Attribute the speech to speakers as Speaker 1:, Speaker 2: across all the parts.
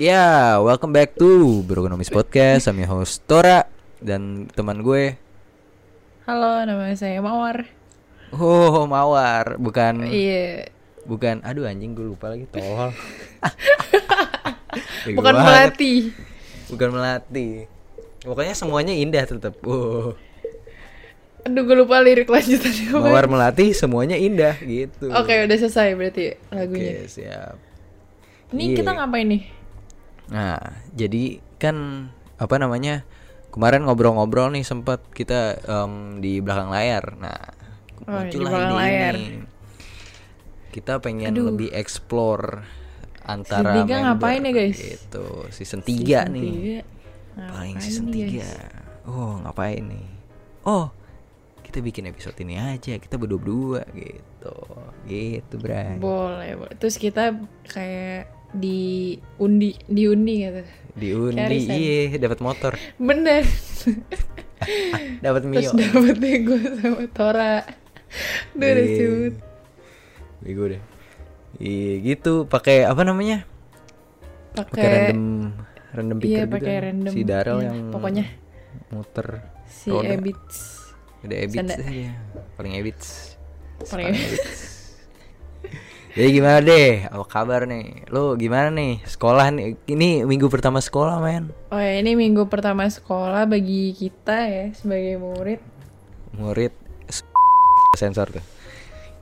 Speaker 1: Ya, welcome back to Brokonomis Podcast. I'm your host Tora dan teman gue
Speaker 2: Halo, nama saya Mawar.
Speaker 1: Oh, Mawar, bukan
Speaker 2: Iya.
Speaker 1: bukan aduh anjing gue lupa lagi tol. Bego
Speaker 2: Bukan
Speaker 1: banget.
Speaker 2: melati.
Speaker 1: Bukan melati. Pokoknya semuanya indah tetap. Oh.
Speaker 2: Aduh, gue lupa lirik lanjutannya. apa.
Speaker 1: Mawar melati semuanya indah gitu.
Speaker 2: Oke, udah selesai berarti Oh, lagunya.
Speaker 1: Oke, siap.
Speaker 2: Ini
Speaker 1: Iya.
Speaker 2: kita ngapain nih?
Speaker 1: Nah, jadi kan apa namanya? Kemarin ngobrol-ngobrol nih sempat kita em, di belakang layar. Nah,
Speaker 2: Oh, di
Speaker 1: muncullah
Speaker 2: belakang
Speaker 1: ide
Speaker 2: layar.
Speaker 1: ini. Kita pengen lebih explore antara
Speaker 2: Season tiga
Speaker 1: member
Speaker 2: ngapain ya, guys?
Speaker 1: Gitu. Season 3 nih.
Speaker 2: Tiga.
Speaker 1: Paling
Speaker 2: Ngapain
Speaker 1: season
Speaker 2: nih,
Speaker 1: 3.
Speaker 2: guys?
Speaker 1: Oh, ngapain nih? Oh, kita bikin episode ini aja. Kita berdua-dua gitu. Gitu, Bray.
Speaker 2: Boleh, boleh. Terus kita kayak diundi, diundi gitu.
Speaker 1: Diundi,
Speaker 2: Kayak
Speaker 1: iya,
Speaker 2: resign.
Speaker 1: dapat motor,
Speaker 2: Bener.
Speaker 1: dapat Mio.
Speaker 2: Terus dapetnya gue sama Tora. Duh, udah
Speaker 1: Iya.
Speaker 2: sebut.
Speaker 1: Bego deh. Iya gitu, pakai apa namanya? Pakai
Speaker 2: Pakai
Speaker 1: random random
Speaker 2: iya,
Speaker 1: picker
Speaker 2: pakai
Speaker 1: juga.
Speaker 2: random.
Speaker 1: Si Daryl
Speaker 2: Iya,
Speaker 1: yang
Speaker 2: pokoknya.
Speaker 1: muter.
Speaker 2: si
Speaker 1: roda.
Speaker 2: Ebits.
Speaker 1: Ada Ebits
Speaker 2: Canda.
Speaker 1: aja. Paling Ebits.
Speaker 2: Paling Ebits.
Speaker 1: Ebits. Jadi gimana deh? Apa kabar nih? Lo gimana nih? Sekolah nih. Ini minggu pertama sekolah, men.
Speaker 2: Oh ya, ini minggu pertama sekolah bagi kita ya sebagai murid.
Speaker 1: Murid s- sensor tuh.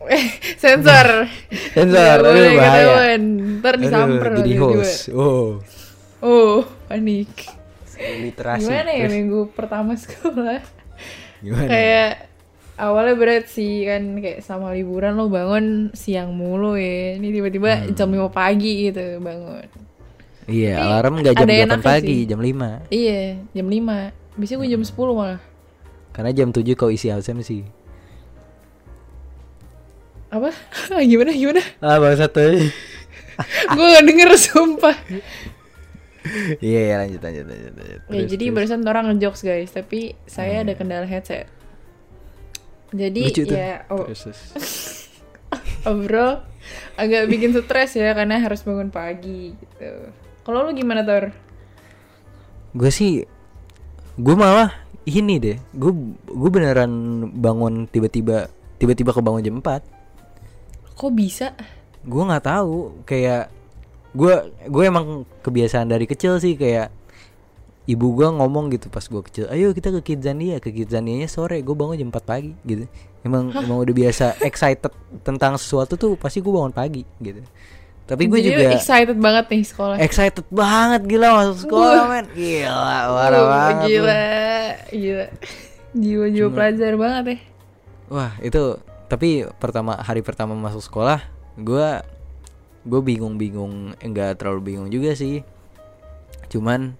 Speaker 2: Eh, sensor.
Speaker 1: Sensor,
Speaker 2: Nggak
Speaker 1: aduh,
Speaker 2: boleh
Speaker 1: bahaya.
Speaker 2: ketahuan. Ntar
Speaker 1: Aduh,
Speaker 2: disamper
Speaker 1: jadi
Speaker 2: lagi gue.
Speaker 1: host. Oh.
Speaker 2: Oh, panik.
Speaker 1: Literasi.
Speaker 2: Gimana ya
Speaker 1: Terus
Speaker 2: minggu pertama sekolah?
Speaker 1: Gimana?
Speaker 2: kayak awalnya berat sih kan kayak sama liburan lo bangun siang mulu ya. Ini
Speaker 1: Hmm.
Speaker 2: tiba-tiba jam 5 pagi gitu bangun.
Speaker 1: Iya,
Speaker 2: tapi
Speaker 1: alarm nggak jam
Speaker 2: ada
Speaker 1: 8
Speaker 2: enaknya
Speaker 1: pagi,
Speaker 2: sih.
Speaker 1: jam 5.
Speaker 2: Iya, jam 5. Biasanya gue jam
Speaker 1: Hmm.
Speaker 2: 10 malah.
Speaker 1: Karena jam 7 kau isi absen sih.
Speaker 2: Apa? gimana gimana?
Speaker 1: Ah bang satu. Ah.
Speaker 2: gue gak denger sumpah.
Speaker 1: Iya iya, lanjut lanjut lanjut. lanjut.
Speaker 2: Ya,
Speaker 1: Terus,
Speaker 2: jadi
Speaker 1: terus. Hmm.
Speaker 2: barusan orang ngejokes guys, tapi saya ada kendala headset. Jadi
Speaker 1: Lucu tuh.
Speaker 2: ya o-
Speaker 1: Terus, terus.
Speaker 2: obrol Oh, agak bikin stres ya karena harus bangun pagi gitu. Kalau lu gimana Tor?
Speaker 1: Gue sih, gue malah ini deh. Gue gue beneran bangun tiba-tiba tiba-tiba kebangun jam 4
Speaker 2: Kok bisa?
Speaker 1: Gue nggak tahu kayak gue gue emang kebiasaan dari kecil sih kayak ibu gue ngomong gitu pas gue kecil ayo kita ke Kidzania ke Kidzania sore gue bangun jam 4 pagi gitu emang emang udah biasa excited tentang sesuatu tuh pasti gue bangun pagi gitu tapi gue
Speaker 2: Jadi lu
Speaker 1: juga Eh,
Speaker 2: excited banget nih sekolah.
Speaker 1: excited banget gila masuk sekolah men gila parah
Speaker 2: Wuh,
Speaker 1: banget lu.
Speaker 2: gila, gila. Jiwa-jiwa pelajar banget ya.
Speaker 1: wah itu tapi pertama hari pertama masuk sekolah gua gue bingung-bingung enggak terlalu bingung juga sih cuman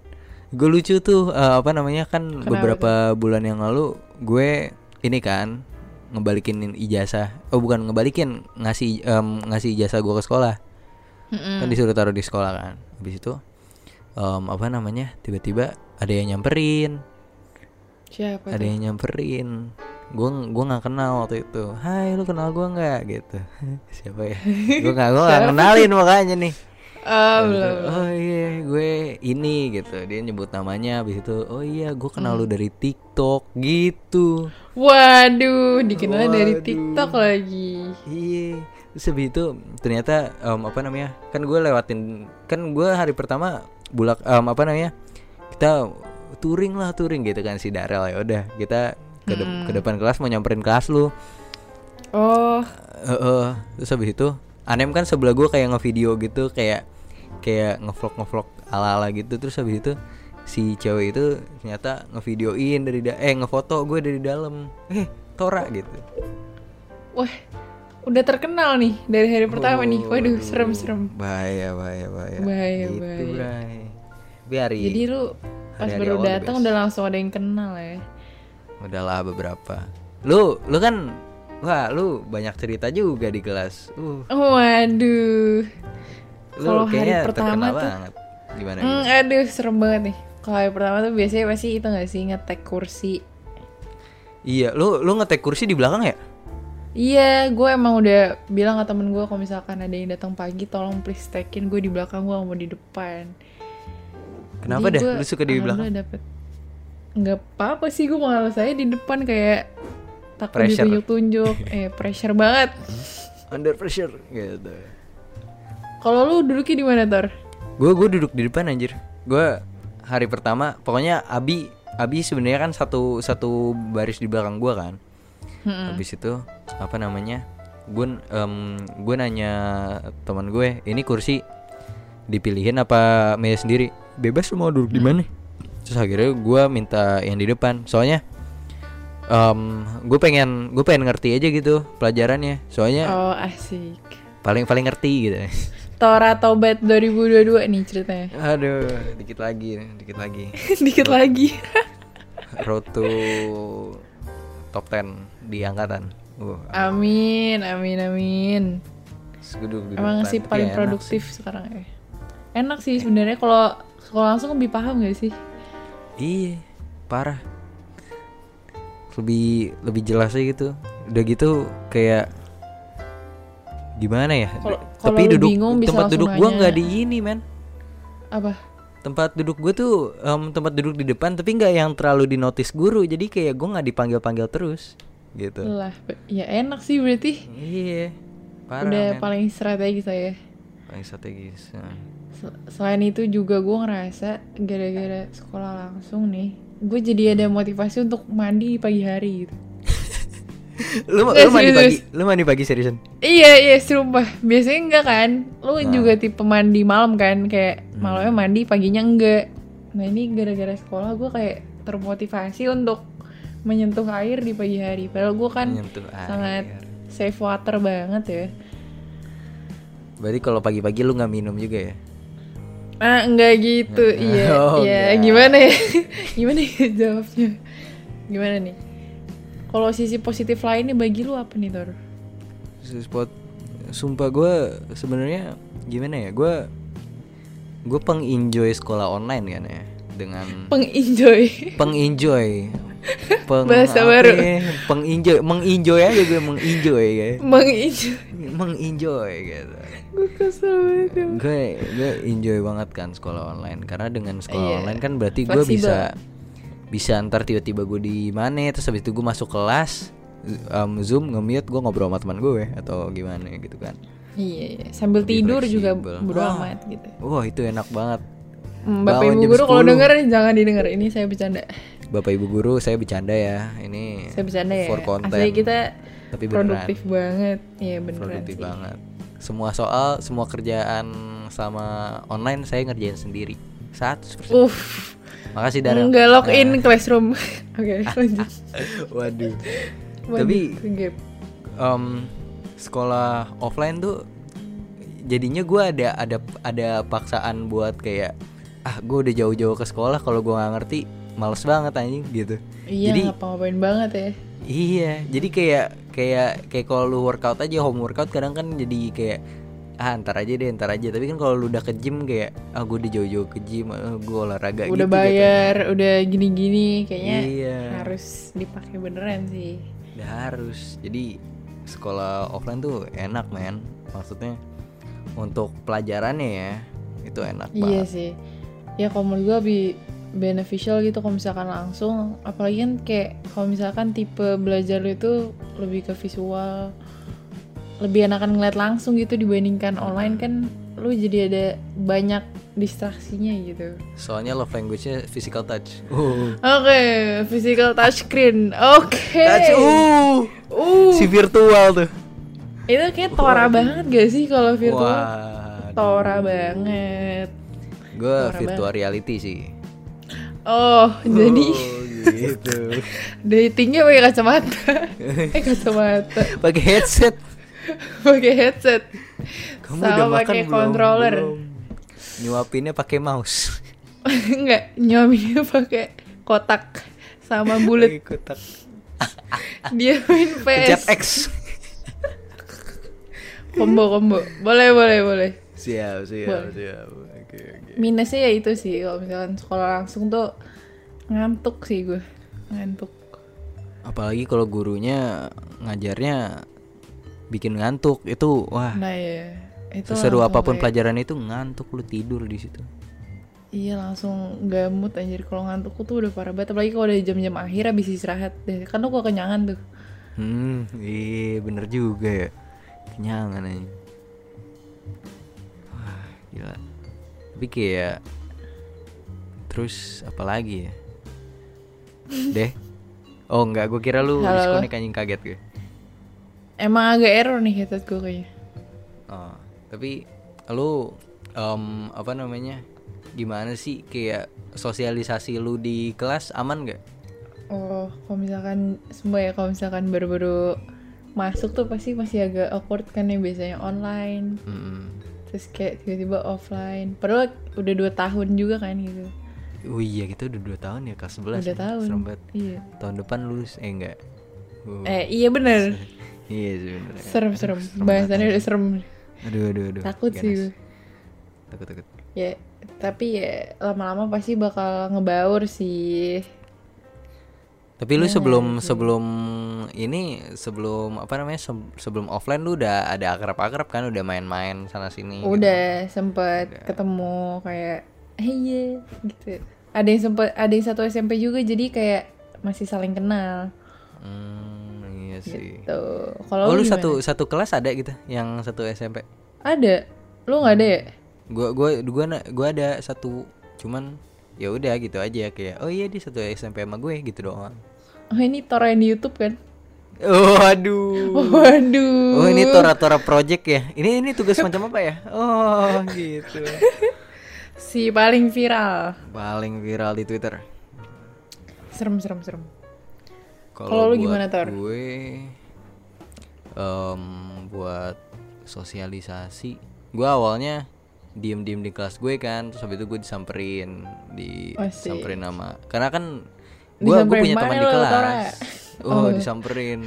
Speaker 1: gue lucu tuh eh, apa namanya kan
Speaker 2: Kenapa
Speaker 1: beberapa bulan yang lalu gue ini kan ngebalikin ijazah oh bukan ngebalikin ngasih em, ngasih ijazah gua ke sekolah
Speaker 2: Mm-mm.
Speaker 1: kan disuruh taruh di sekolah kan habis itu em, apa namanya tiba-tiba ada yang nyamperin
Speaker 2: Siapa
Speaker 1: ada
Speaker 2: tuh?
Speaker 1: yang nyamperin gue gua nggak kenal waktu itu hai lu kenal gua nggak gitu siapa ya gue nggak gua nggak kenalin makanya nih
Speaker 2: Ah,
Speaker 1: Habis itu,
Speaker 2: belum.
Speaker 1: oh iya gue ini gitu dia nyebut namanya habis itu oh iya gue kenal
Speaker 2: Hmm.
Speaker 1: lu dari TikTok gitu
Speaker 2: Waduh, dikenal dari
Speaker 1: Waduh.
Speaker 2: TikTok lagi.
Speaker 1: Iya. Terus habis itu ternyata em, apa namanya? Kan gue lewatin kan gue hari pertama bulak em, apa namanya? Kita touring lah touring gitu kan si Darel ya udah kita ke, de-
Speaker 2: Hmm.
Speaker 1: ke depan kelas mau nyamperin kelas lu.
Speaker 2: Oh,
Speaker 1: Eh, eh. terus habis itu Anem kan sebelah gue kayak ngevideo gitu kayak kayak ngevlog ngevlog ala ala gitu terus habis itu si cewek itu ternyata ngevideoin dari da- eh ngefoto gue dari dalam eh Tora gitu
Speaker 2: Wah, udah terkenal nih dari hari pertama nih.
Speaker 1: Oh,
Speaker 2: Waduh, serem-serem.
Speaker 1: bahaya bahaya bahaya Gitu,
Speaker 2: Bahaya, bahaya.
Speaker 1: Bray. biar
Speaker 2: Jadi lu pas
Speaker 1: Hari-hari
Speaker 2: baru
Speaker 1: awal the
Speaker 2: datang
Speaker 1: best.
Speaker 2: udah langsung ada yang kenal ya.
Speaker 1: udahlah beberapa lu lu kan wah lu banyak cerita juga di kelas uh
Speaker 2: Waduh.
Speaker 1: lu
Speaker 2: Kalau hari
Speaker 1: kayaknya
Speaker 2: pertama
Speaker 1: terkenal
Speaker 2: tuh-
Speaker 1: banget gimana
Speaker 2: Hmm, aduh, serem banget nih. Kalau hari pertama tuh biasanya pasti itu gak sih ngetek kursi.
Speaker 1: iya lu lu ngetek kursi di belakang ya
Speaker 2: Iya, gue emang udah bilang ke temen gue kalau misalkan ada yang datang pagi, tolong please tekin gue di belakang gue nggak mau di depan.
Speaker 1: Kenapa
Speaker 2: Jadi
Speaker 1: dah?
Speaker 2: gua
Speaker 1: Lu suka di belakang?
Speaker 2: alhamdulillah Dapet. Nggak apa-apa sih gue malah saya di depan kayak takut
Speaker 1: Pressure.
Speaker 2: ditunjuk-tunjuk. eh pressure banget.
Speaker 1: Under pressure gitu.
Speaker 2: Kalau lu duduknya di mana Tor?
Speaker 1: Gue gue duduk di depan anjir. Gue hari pertama pokoknya Abi Abi sebenarnya kan satu satu baris di belakang gua kan. Habis itu apa namanya? Gue gue nanya teman gue, ini kursi dipilihin apa meja sendiri? Bebas lu mau duduk di mana? Terus akhirnya gue minta yang di depan. Soalnya gue pengen gue pengen ngerti aja gitu pelajarannya. Soalnya
Speaker 2: Oh asik.
Speaker 1: paling paling ngerti gitu.
Speaker 2: Tora Tobat 2022 nih ceritanya.
Speaker 1: Aduh, dikit lagi, dikit lagi.
Speaker 2: Dikit lagi.
Speaker 1: Road to top 10 di angkatan. Uh,
Speaker 2: amin, amin, amin.
Speaker 1: terus gua duduk di
Speaker 2: Emang
Speaker 1: depan,
Speaker 2: sih
Speaker 1: tapi
Speaker 2: paling
Speaker 1: enak
Speaker 2: produktif sekarang ya. Enak sih sebenarnya kalau sekolah langsung lebih paham gak sih?
Speaker 1: Iya, parah. Lebih lebih jelas aja gitu. Udah gitu kayak gimana ya?
Speaker 2: Kalau-
Speaker 1: Tapi
Speaker 2: kalau lu
Speaker 1: duduk
Speaker 2: bingung bisa
Speaker 1: tempat
Speaker 2: langsung
Speaker 1: duduk gua
Speaker 2: nanya.
Speaker 1: nggak di ini, men.
Speaker 2: Apa?
Speaker 1: Tempat duduk gue tuh em, tempat duduk di depan tapi nggak yang terlalu dinotis guru. Jadi kayak gua nggak dipanggil-panggil terus gitu.
Speaker 2: Lah, ya enak sih berarti.
Speaker 1: Iya. Parah,
Speaker 2: Udah
Speaker 1: men.
Speaker 2: paling strategis saya.
Speaker 1: paling strategis. Nah.
Speaker 2: Sel- Selain itu juga gue ngerasa gara-gara sekolah langsung nih, gue jadi ada motivasi untuk mandi di pagi hari gitu.
Speaker 1: lu ma-
Speaker 2: Nggak,
Speaker 1: lu mandi pagi,
Speaker 2: Eh, serius.
Speaker 1: lu mandi pagi seriusan.
Speaker 2: Iya iya sumpah biasanya enggak kan lu
Speaker 1: Nah.
Speaker 2: juga tipe mandi malam kan kayak
Speaker 1: Hmm.
Speaker 2: malamnya mandi paginya enggak nah ini gara-gara sekolah gue kayak termotivasi untuk menyentuh air di pagi hari padahal gue kan
Speaker 1: Menyentuh air.
Speaker 2: sangat safe water banget ya
Speaker 1: Berarti kalau pagi-pagi lu nggak minum juga ya?
Speaker 2: ah enggak gitu iya
Speaker 1: Oh,
Speaker 2: iya
Speaker 1: enggak.
Speaker 2: gimana ya gimana ya jawabnya gimana nih kalau sisi positif lainnya bagi lu apa nih Tor?
Speaker 1: spot sumpah gue sebenarnya gimana ya gue gue pengenjoy sekolah online kan ya dengan
Speaker 2: Pengenjoy.
Speaker 1: pengenjoy peng
Speaker 2: Bahasa
Speaker 1: apa
Speaker 2: baru.
Speaker 1: ya? pengenjoy mengenjoy aja gue mengenjoy ya
Speaker 2: Mengenjoy.
Speaker 1: mengenjoy gitu
Speaker 2: Gue kesel banget. ya.
Speaker 1: gue gue enjoy banget kan sekolah online karena dengan sekolah
Speaker 2: Iya.
Speaker 1: online kan berarti gue
Speaker 2: Fleksibel.
Speaker 1: bisa bisa ntar tiba-tiba gue di mana terus habis itu gue masuk kelas z- um, zoom nge-mute gue ngobrol sama teman gue atau gimana gitu kan
Speaker 2: Iya, iya. sambil
Speaker 1: Lebih
Speaker 2: tidur juga
Speaker 1: fleksibel.
Speaker 2: bodo
Speaker 1: Ah.
Speaker 2: amat gitu.
Speaker 1: Wah itu enak banget.
Speaker 2: Hmm, Bapak
Speaker 1: Bangun
Speaker 2: Ibu
Speaker 1: jam Iya.
Speaker 2: guru kalau
Speaker 1: 10.
Speaker 2: denger jangan didengar. Ini saya bercanda.
Speaker 1: Bapak Ibu guru saya bercanda ya. Ini
Speaker 2: Saya bercanda ya.
Speaker 1: for content.
Speaker 2: Asli kita
Speaker 1: Tapi beneran.
Speaker 2: produktif banget. Iya beneran
Speaker 1: Produktif
Speaker 2: sih.
Speaker 1: banget. Semua soal, semua kerjaan sama online saya ngerjain sendiri. 100%.
Speaker 2: Uff.
Speaker 1: Makasih Darel.
Speaker 2: Uh, Enggak
Speaker 1: Nah,
Speaker 2: login classroom. Oke, lanjut.
Speaker 1: Waduh.
Speaker 2: Lanjut
Speaker 1: Tapi
Speaker 2: ke gap.
Speaker 1: em, sekolah offline tuh jadinya gue ada ada ada paksaan buat kayak ah gue udah jauh-jauh ke sekolah kalau gue nggak ngerti males banget anjing gitu.
Speaker 2: Iya,
Speaker 1: Jadi-
Speaker 2: ngapa-ngapain banget ya.
Speaker 1: Iya, jadi kayak kayak kayak kalau lu workout aja home workout kadang kan jadi kayak ah ntar aja deh ntar aja tapi kan kalau lu udah ke gym kayak ah gue udah jauh-jauh ke gym ah, gue olahraga
Speaker 2: udah
Speaker 1: gitu
Speaker 2: bayar, Nah, udah gini-gini kayaknya
Speaker 1: Iya.
Speaker 2: harus dipakai beneran sih.
Speaker 1: jatuhnya. udah harus jadi sekolah offline tuh enak men maksudnya untuk pelajarannya ya itu enak
Speaker 2: Iya
Speaker 1: banget
Speaker 2: sih. Ya kalau menurut gue lebih beneficial gitu kalau misalkan langsung. Apalagi kan kayak kalau misalkan tipe belajar lu itu lebih ke visual. Lebih enakan ngeliat langsung gitu dibandingkan online kan lu jadi ada banyak distraksinya gitu.
Speaker 1: soalnya love language-nya physical touch
Speaker 2: Oke, physical touchscreen. Oke.
Speaker 1: touch uh
Speaker 2: Uh,
Speaker 1: si virtual tuh
Speaker 2: itu kayak tora banget gak sih kalau virtual?
Speaker 1: wah
Speaker 2: Tora banget.
Speaker 1: gue
Speaker 2: parah
Speaker 1: virtual reality sih
Speaker 2: Oh, jadi
Speaker 1: Oh, gitu
Speaker 2: datingnya pakai kacamata eh kacamata
Speaker 1: pakai headset
Speaker 2: pakai headset
Speaker 1: kamu
Speaker 2: sama
Speaker 1: udah makan
Speaker 2: pakai
Speaker 1: belum?
Speaker 2: controller
Speaker 1: Belum. nyuapinnya pakai mouse
Speaker 2: enggak nyaminya pakai kotak sama bulat
Speaker 1: Pakai kotak
Speaker 2: dia main
Speaker 1: pencet
Speaker 2: PS
Speaker 1: X
Speaker 2: combo combo boleh boleh boleh
Speaker 1: siap
Speaker 2: Boleh.
Speaker 1: siap siap oke oke
Speaker 2: minusnya ya itu sih kalau misalkan sekolah langsung tuh ngantuk sih gue ngantuk
Speaker 1: apalagi kalau gurunya ngajarnya bikin ngantuk itu wah
Speaker 2: nah ya itu
Speaker 1: seseru
Speaker 2: langsung
Speaker 1: apapun
Speaker 2: kayak-
Speaker 1: pelajaran itu ngantuk lu tidur di situ
Speaker 2: Iya langsung gamut anjir kalau ngantukku tuh udah parah banget apalagi kalau udah jam-jam akhir habis istirahat deh kan tuh gua kenyangan tuh
Speaker 1: Hmm, iya bener juga ya. Kenyangan aja. Wah, gila. Tapi kayak terus apa lagi ya? Deh. Oh enggak, gue kira lu
Speaker 2: Halo, halo.
Speaker 1: disconnect anjing kaget gue.
Speaker 2: emang agak error nih headset gue kayaknya
Speaker 1: Oh, tapi lu em, apa namanya? Gimana sih kayak sosialisasi lu di kelas aman gak?
Speaker 2: oh kalau misalkan semua ya kalau misalkan baru-baru masuk tuh pasti masih agak awkward kan yang biasanya online
Speaker 1: Hmm.
Speaker 2: terus kayak tiba-tiba offline padahal udah dua tahun juga kan gitu
Speaker 1: Oh iya, kita udah 2 tahun ya kelas 11.
Speaker 2: udah
Speaker 1: ya.
Speaker 2: tahun
Speaker 1: Serem banget.
Speaker 2: iya
Speaker 1: Tahun depan lulus eh enggak. Oh.
Speaker 2: eh iya bener
Speaker 1: Iya sebenernya
Speaker 2: serem serem
Speaker 1: serem
Speaker 2: bahasannya udah serem
Speaker 1: Aduh aduh aduh
Speaker 2: takut sih
Speaker 1: ganas.
Speaker 2: gue.
Speaker 1: Takut takut
Speaker 2: ya tapi ya lama-lama pasti bakal ngebaur sih
Speaker 1: Tapi
Speaker 2: Iya,
Speaker 1: lu sebelum sebelum ini sebelum apa namanya se- sebelum offline lu udah ada akrab-akrab kan udah main-main sana sini gitu.
Speaker 2: udah sempet ketemu kayak hey ye," gitu ada yang sempet ada yang satu SMP juga jadi kayak masih saling kenal
Speaker 1: Hmm, iya sih. Oh,
Speaker 2: tuh kalau
Speaker 1: lu
Speaker 2: gimana?
Speaker 1: satu satu kelas ada gitu yang satu SMP.
Speaker 2: ada lu nggak ada ya
Speaker 1: Gua gua gua na- gua ada satu cuman ya udah gitu aja kayak oh iya dia satu SMP sama gue gitu doang.
Speaker 2: oh ini Tora yang di YouTube kan
Speaker 1: Waduh.
Speaker 2: waduh
Speaker 1: Uh. Oh ini tora-tora project ya. Ini ini tugas macam apa ya? Oh gitu.
Speaker 2: si paling viral
Speaker 1: Paling viral di Twitter.
Speaker 2: serem serem serem Kalau lu
Speaker 1: buat
Speaker 2: gimana, Tor?
Speaker 1: Gue em, buat sosialisasi. Gue awalnya diem-diem di kelas gue kan, terus habis itu gue disamperin, disamperin sama. Karena kan gue gue
Speaker 2: Oh, Disamperin
Speaker 1: punya
Speaker 2: mana
Speaker 1: teman di
Speaker 2: lu, Tora?
Speaker 1: kelas. Oh, disamperin.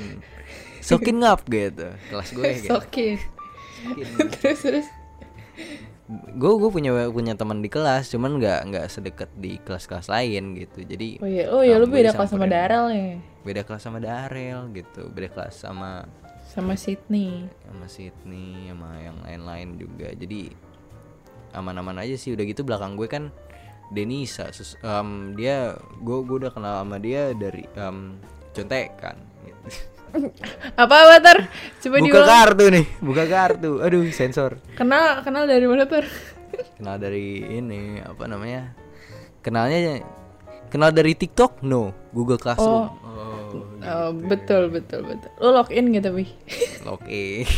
Speaker 1: Sokin ngap gitu kelas gue gitu.
Speaker 2: sokin terus terus
Speaker 1: Gue gue punya punya teman di kelas, cuman nggak nggak sedekat di kelas-kelas lain gitu. Jadi
Speaker 2: oh iya oh iya lu
Speaker 1: Nah, gue
Speaker 2: beda kelas sama Daryl ya
Speaker 1: beda kelas sama Darel gitu, beda kelas sama
Speaker 2: sama Sydney
Speaker 1: sama Sydney sama yang lain-lain juga jadi aman-aman aja sih udah gitu belakang gue kan Denisa sus- em, dia gue gue udah kenal sama dia dari em, contekan gitu.
Speaker 2: apa Water coba
Speaker 1: buka
Speaker 2: diulang
Speaker 1: kartu nih buka kartu aduh sensor
Speaker 2: kenal kenal dari mana Tor
Speaker 1: kenal dari ini apa namanya kenalnya kenal dari TikTok no Google Classroom oh,
Speaker 2: Oh, betul betul betul. Lo login gitu tapi
Speaker 1: login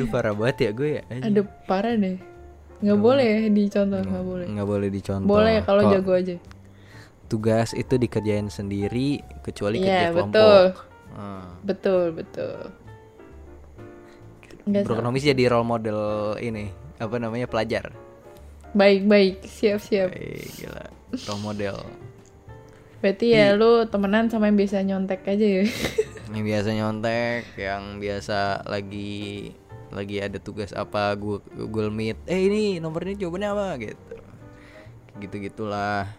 Speaker 1: Duh parah banget ya gue ya anjing.
Speaker 2: Aduh parah deh. Nggak boleh ya dicontoh nggak boleh.
Speaker 1: nggak boleh dicontoh
Speaker 2: Boleh ya kalau
Speaker 1: Kok
Speaker 2: jago aja.
Speaker 1: tugas itu dikerjain sendiri kecuali kerja
Speaker 2: Iya
Speaker 1: kelompok
Speaker 2: betul
Speaker 1: Hmm.
Speaker 2: betul betul. Nggak
Speaker 1: Bro
Speaker 2: salah.
Speaker 1: Ekonomis jadi role model ini apa namanya pelajar
Speaker 2: Baik baik siap siap.
Speaker 1: eh gila role model
Speaker 2: Berarti ya lu temenan sama yang biasa nyontek aja ya.
Speaker 1: yang biasa nyontek yang biasa lagi lagi ada tugas apa Gu- Google Meet eh ini nomornya jawabannya apa gitu gitu gitulah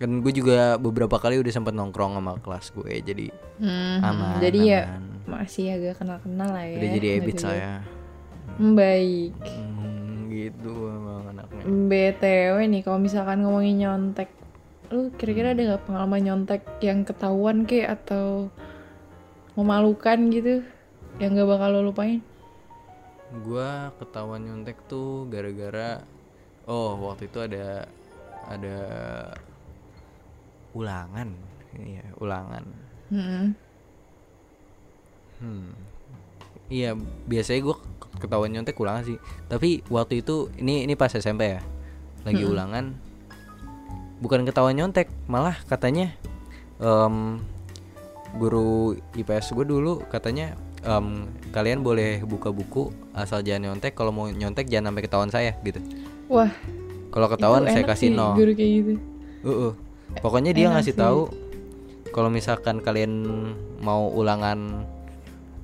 Speaker 1: kan gue juga beberapa kali udah sempat nongkrong sama kelas gue jadi
Speaker 2: Hmm,
Speaker 1: Aman,
Speaker 2: jadi ya
Speaker 1: aman.
Speaker 2: masih agak kenal kenal lah ya.
Speaker 1: udah jadi
Speaker 2: Nggak
Speaker 1: habit
Speaker 2: juga-
Speaker 1: saya
Speaker 2: Hmm, Baik.
Speaker 1: Hmm, gitu emang anaknya
Speaker 2: BTW nih kalau misalkan ngomongin nyontek lu kira-kira ada nggak pengalaman nyontek yang ketahuan ke atau memalukan gitu yang gak bakal lo lupain
Speaker 1: gua ketahuan nyontek tuh gara-gara oh waktu itu ada ada ulangan iya ulangan
Speaker 2: Mm-mm.
Speaker 1: hmm iya biasanya gua ketahuan nyontek ulangan sih tapi waktu itu ini ini pas SMP ya lagi ulangan bukan ketahuan nyontek malah katanya em, guru IPS gue dulu katanya em, kalian boleh buka buku asal jangan nyontek kalau mau nyontek jangan sampai ketahuan saya gitu
Speaker 2: wah
Speaker 1: kalau ketahuan
Speaker 2: itu
Speaker 1: saya
Speaker 2: enak
Speaker 1: kasih
Speaker 2: sih,
Speaker 1: nol
Speaker 2: guru kayak gitu
Speaker 1: Uh-uh. Pokoknya dia
Speaker 2: Enak
Speaker 1: ngasih
Speaker 2: sih.
Speaker 1: tahu kalau misalkan kalian mau ulangan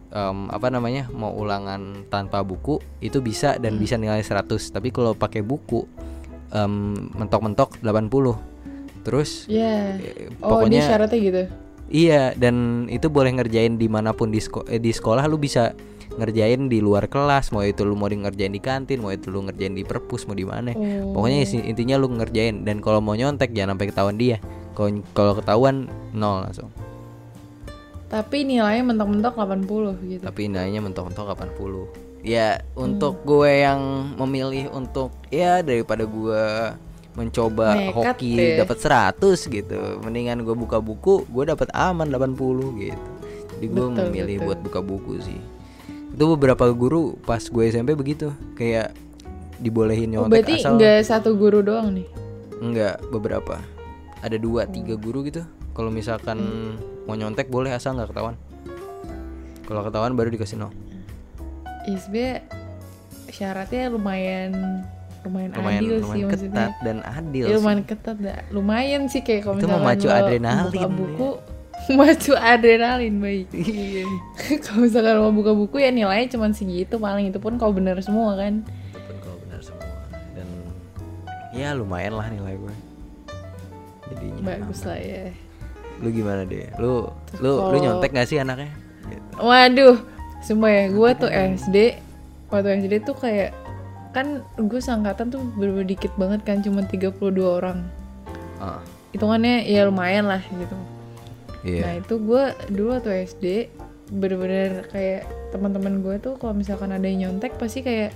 Speaker 1: em, apa namanya? mau ulangan tanpa buku itu bisa
Speaker 2: Hmm.
Speaker 1: dan bisa nilai 100. Tapi kalau pakai buku em, mentok-mentok 80. Terus eh,
Speaker 2: ya oh dia
Speaker 1: pokoknya
Speaker 2: Oh, syaratnya gitu
Speaker 1: Iya, dan itu boleh ngerjain dimanapun di, sko- eh, di sekolah lu bisa ngerjain di luar kelas, mau itu lu mau di- ngerjain di kantin, mau itu lu ngerjain di perpus, mau di mana.
Speaker 2: Oh.
Speaker 1: Pokoknya isi- intinya lu ngerjain dan kalau mau nyontek jangan sampai ketahuan dia. Kalau kalau ketahuan nol langsung.
Speaker 2: Tapi nilainya mentok-mentok 80 gitu.
Speaker 1: Tapi nilainya mentok-mentok 80. Ya, untuk
Speaker 2: Hmm.
Speaker 1: gue yang memilih untuk ya daripada gue mencoba
Speaker 2: Nekat
Speaker 1: hoki
Speaker 2: deh.
Speaker 1: dapat 100 gitu. Mendingan gue buka buku, gue dapat aman 80 gitu. Jadi gue
Speaker 2: Betul,
Speaker 1: memilih
Speaker 2: betul.
Speaker 1: buat buka buku sih. Itu beberapa guru pas gue SMP begitu, kayak dibolehin
Speaker 2: Oh,
Speaker 1: nyontek
Speaker 2: berarti
Speaker 1: asal.
Speaker 2: nggak satu guru doang nih.
Speaker 1: Enggak, beberapa. Ada dua, tiga
Speaker 2: Hmm.
Speaker 1: guru gitu. Kalau misalkan mau nyontek boleh asal nggak ketahuan. Kalau ketahuan baru dikasih nol.
Speaker 2: Ya, sebenernya syaratnya lumayan lumayan,
Speaker 1: Lumayan,
Speaker 2: adil sih
Speaker 1: lumayan
Speaker 2: maksudnya.
Speaker 1: ketat dan adil.
Speaker 2: Ya,
Speaker 1: Iya, sih.
Speaker 2: lumayan ketat dah. Lumayan sih kayak kalau
Speaker 1: Itu
Speaker 2: misalkan
Speaker 1: memacu
Speaker 2: lo
Speaker 1: adrenalin,
Speaker 2: buka
Speaker 1: ya.
Speaker 2: buku memacu adrenalin baik.
Speaker 1: Iya.
Speaker 2: kalau misalkan mau buka buku ya nilainya cuma segitu paling itu pun kalau bener semua kan.
Speaker 1: Walaupun kalau benar semua dan ya lumayan lah nilai gue. Jadinya
Speaker 2: Bagus
Speaker 1: aman.
Speaker 2: lah ya.
Speaker 1: Lu gimana deh? Lu lu lu
Speaker 2: Kalau-
Speaker 1: nyontek gak sih anaknya? Gitu.
Speaker 2: Waduh, semua ya. Gue tuh
Speaker 1: Iya.
Speaker 2: SD, waktu SD tuh kayak kan gue sangkatan tuh bener dikit banget kan, cuma 32 orang.
Speaker 1: Ah,
Speaker 2: Hitungannya ya lumayan lah gitu. Nah
Speaker 1: Iya.
Speaker 2: itu gue dulu waktu SD bener-bener kayak teman-teman gue tuh kalau misalkan ada yang nyontek pasti kayak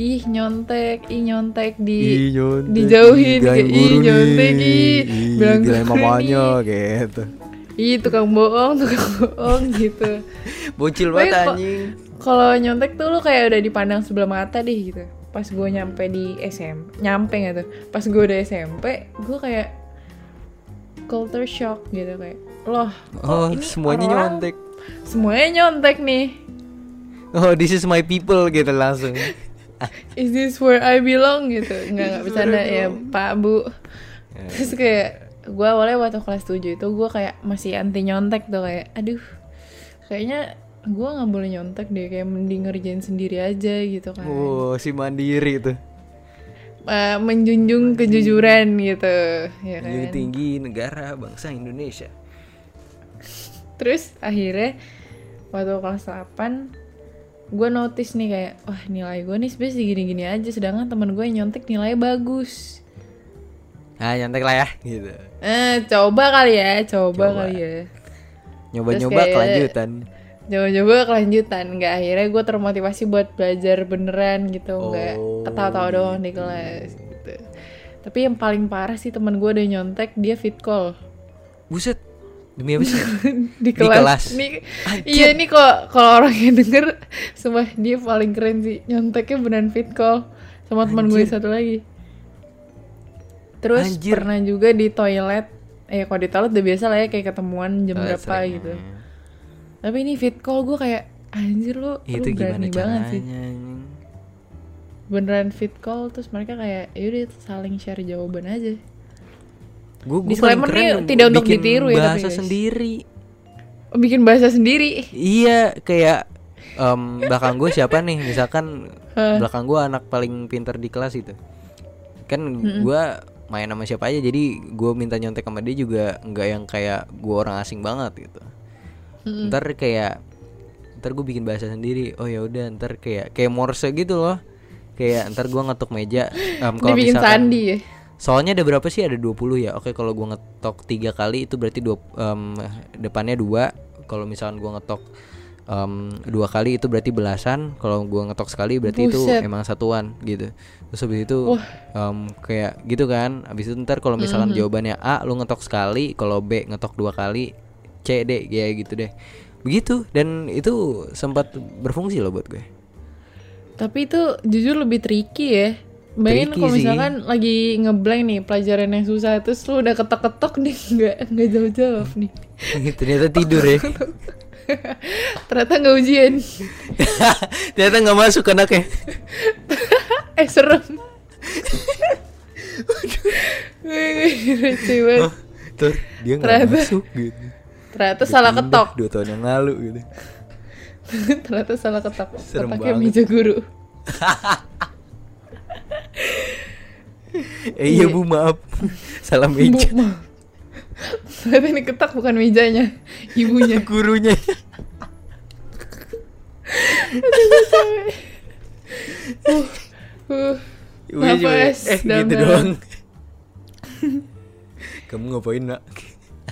Speaker 2: ih nyontek, ih nyontek di
Speaker 1: nyontek,
Speaker 2: dijauhin,
Speaker 1: bilang
Speaker 2: kayak,
Speaker 1: guru
Speaker 2: "Ih, nyontek,
Speaker 1: nih,
Speaker 2: ih,
Speaker 1: bilang
Speaker 2: bilang guru
Speaker 1: mamanya gitu.
Speaker 2: ih tukang bohong, tukang bohong gitu.
Speaker 1: Bocil banget
Speaker 2: Tapi kok-
Speaker 1: anjing.
Speaker 2: Kalau nyontek tuh lu kayak udah dipandang sebelah mata deh gitu. Pas gue nyampe di SM, nyampe nggak tuh? Pas gue udah SMP, gue kayak culture shock gitu kayak, loh, kok
Speaker 1: Oh,
Speaker 2: ini
Speaker 1: semuanya
Speaker 2: orang-
Speaker 1: nyontek.
Speaker 2: Semuanya nyontek nih.
Speaker 1: Oh, this is my people gitu langsung.
Speaker 2: Is this where I belong gitu? Nggak nggak bercanda ya, Pak Bu. Terus kayak gue awalnya waktu kelas 7 itu gue kayak masih anti nyontek tuh kayak, aduh, kayaknya gue nggak boleh nyontek deh kayak mending ngerjain sendiri aja gitu kan.
Speaker 1: Oh, si mandiri tuh.
Speaker 2: eh, menjunjung kejujuran gitu ya kan
Speaker 1: Menjunjung tinggi negara bangsa Indonesia.
Speaker 2: terus akhirnya waktu kelas 8 gue notice nih kayak wah nilai gue nih sebenernya segini-gini aja sedangkan teman gue yang nyontek nilai bagus
Speaker 1: Ah, nyontek lah ya gitu.
Speaker 2: eh coba kali ya coba,
Speaker 1: Coba.
Speaker 2: kali ya
Speaker 1: Nyoba-nyoba
Speaker 2: Terus kayak-
Speaker 1: kelanjutan.
Speaker 2: coba-coba kelanjutan nggak akhirnya gue termotivasi buat belajar beneran gitu nggak
Speaker 1: Oh,
Speaker 2: ketawa-tawa doang di kelas gitu tapi yang paling parah sih teman gue udah nyontek dia fit call
Speaker 1: Buset. Demi apa sih?
Speaker 2: di kelas.
Speaker 1: kelas.
Speaker 2: Nih-
Speaker 1: Anjir.
Speaker 2: iya nih kok kalau orang yang denger sumpah dia paling keren sih. Nyonteknya beneran fit call sama teman gue
Speaker 1: Anjir.
Speaker 2: satu lagi. Terus
Speaker 1: Anjir.
Speaker 2: pernah juga di toilet. Eh kalau di toilet udah biasa lah ya kayak ketemuan
Speaker 1: Oh,
Speaker 2: jam berapa
Speaker 1: Sering.
Speaker 2: gitu. Tapi ini fit call gue kayak anjir lu
Speaker 1: Itu
Speaker 2: lu
Speaker 1: gimana
Speaker 2: berani banget
Speaker 1: caranya?
Speaker 2: sih.
Speaker 1: anjing?
Speaker 2: Beneran fit call terus mereka kayak yaudah saling share jawaban aja.
Speaker 1: Gua gua
Speaker 2: Disclaimer
Speaker 1: paling keren
Speaker 2: nih tidak untuk
Speaker 1: bikin
Speaker 2: ditiru ya, tapi,
Speaker 1: bahasa
Speaker 2: guys.
Speaker 1: sendiri.
Speaker 2: Oh, Bikin bahasa sendiri.
Speaker 1: Iya, kayak em, belakang gue siapa nih? Misalkan belakang gue anak paling pinter di kelas itu. Kan gue main sama siapa aja, jadi gue minta nyontek sama dia juga nggak yang kayak gue orang asing banget gitu. Ntar kayak ntar gue bikin bahasa sendiri. Oh ya udah, ntar kayak kayak Morse gitu loh. Kayak ntar gue ngetok meja. Em,
Speaker 2: Dia
Speaker 1: kalau
Speaker 2: bikin
Speaker 1: misalkan-
Speaker 2: sandi ya.
Speaker 1: Soalnya ada berapa sih? Ada 20 ya. Oke, kalau gua ngetok tiga kali itu berarti dua em, depannya dua. Kalau misalkan gua ngetok em, dua kali itu berarti belasan. Kalau gua ngetok sekali berarti itu
Speaker 2: Buset.
Speaker 1: emang satuan gitu. Terus habis itu em, kayak gitu kan. Habis itu ntar kalau misalkan jawabannya A lu ngetok sekali, kalau B ngetok dua kali, C D ya gitu deh. Begitu dan itu sempat berfungsi loh buat gue.
Speaker 2: Tapi itu jujur lebih tricky ya. Bayangin
Speaker 1: Tricky
Speaker 2: kalau
Speaker 1: sih.
Speaker 2: misalkan lagi ngeblank nih pelajaran yang susah terus lu udah ketok-ketok nih nggak nggak jawab-jawab nih.
Speaker 1: Ternyata tidur ya.
Speaker 2: Ternyata nggak ujian.
Speaker 1: Ternyata nggak masuk anaknya.
Speaker 2: eh serem. Receh banget.
Speaker 1: Terus dia nggak
Speaker 2: Ternyata-
Speaker 1: masuk gitu.
Speaker 2: Ternyata salah
Speaker 1: Pindah
Speaker 2: ketok.
Speaker 1: Dua tahun yang lalu gitu.
Speaker 2: Ternyata salah ketok.
Speaker 1: Serem
Speaker 2: Ketoknya
Speaker 1: banget.
Speaker 2: meja guru.
Speaker 1: iya, Eh iya bu maaf. Salah meja.
Speaker 2: Bu, ma- Ternyata ini ketak bukan mejanya, ibunya.
Speaker 1: gurunya
Speaker 2: Uh,
Speaker 1: Ibunya
Speaker 2: Kenapa,
Speaker 1: cuma,
Speaker 2: Es?
Speaker 1: eh
Speaker 2: Dalam
Speaker 1: gitu
Speaker 2: dalam.
Speaker 1: doang kamu ngapain nak